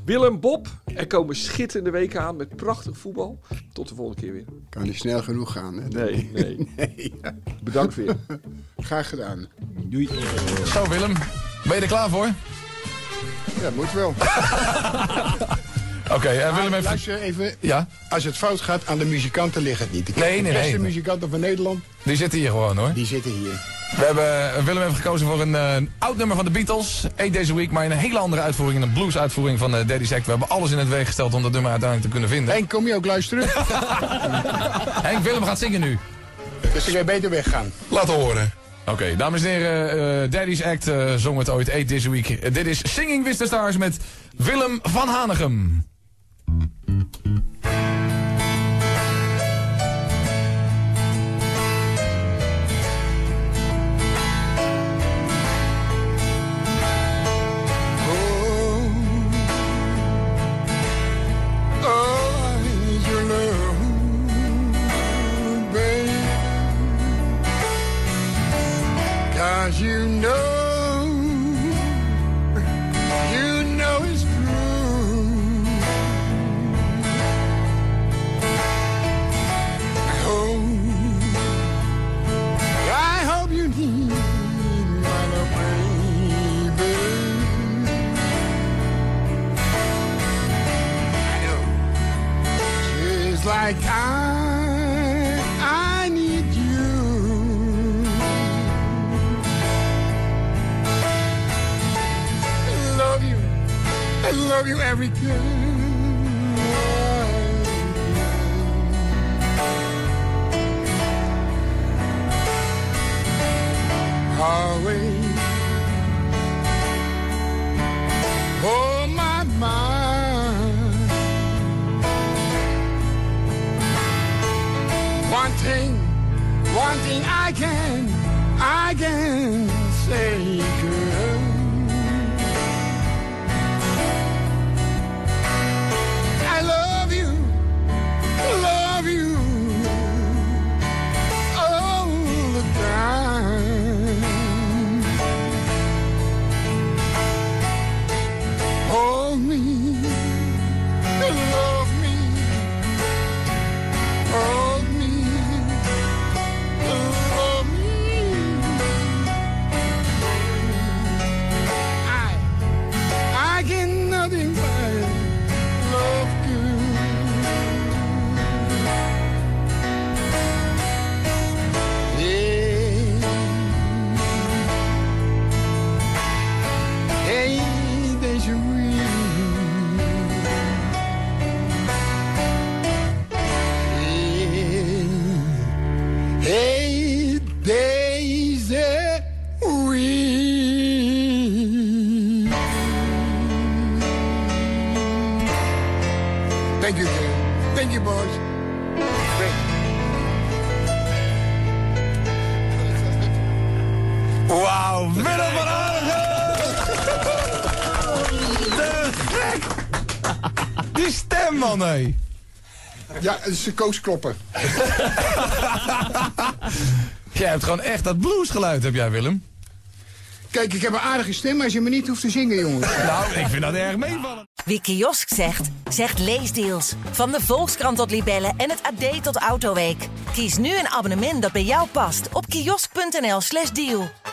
Willem Bob, er komen schitterende weken aan met prachtig voetbal. Tot de volgende keer weer. Kan niet snel genoeg gaan. Hè? Nee, nee. Bedankt weer. Graag gedaan. Zo Willem, ben je er klaar voor? Ja, moet wel. Oké, eh, Willem heeft... Luister even. Ja, Als het fout gaat, aan de muzikanten ligt het niet. Ik Nee, heb nee, de beste nee. muzikanten van Nederland, die zit hier gewoon hoor. die zitten hier. We hebben, eh, Willem heeft gekozen voor een, eh, een oud nummer van de Beatles. Eight Days a Week, maar in een hele andere uitvoering. Een blues-uitvoering van eh Daddy's Act. We hebben alles in het weeg gesteld om dat nummer uiteindelijk te kunnen vinden. En kom je ook luisteren? Henk Willem gaat zingen nu. dus dan kan je beter weggaan. Laten horen. Oké, dames en heren, eh, Daddy's Act eh, zong het ooit Eight Days a Week. Eh, dit is Singing with the Stars met Willem van Hanegem. Cause you know, you know it's true. I hope, I hope you need my love, baby. I know. Just like I, I need you. I love you. I love you every day. Always. Oh, my mind. One thing, one thing I can, I can say, girl. I love you, love you, all the time. Hold me, love me, Hold me, hold me. I, I get nothing but love, girl. Yeah. Hey, there's a reason. Hey, days a week. Thank you, Jay. Thank you, boys. Great. Wauw, Willem van Hanegem! Te gek! Die stem, man, hé. Ja, het is de koos kloppen. Jij hebt gewoon echt dat bluesgeluid, heb jij, Willem. Kijk, ik heb een aardige stem als je me niet hoeft te zingen, jongens. Nou, ik vind dat erg meevallen. Wie kiosk zegt, zegt leesdeals. Van de Volkskrant tot Libellen en het AD tot Autoweek. Kies nu een abonnement dat bij jou past op kiosk.nl/slash deal.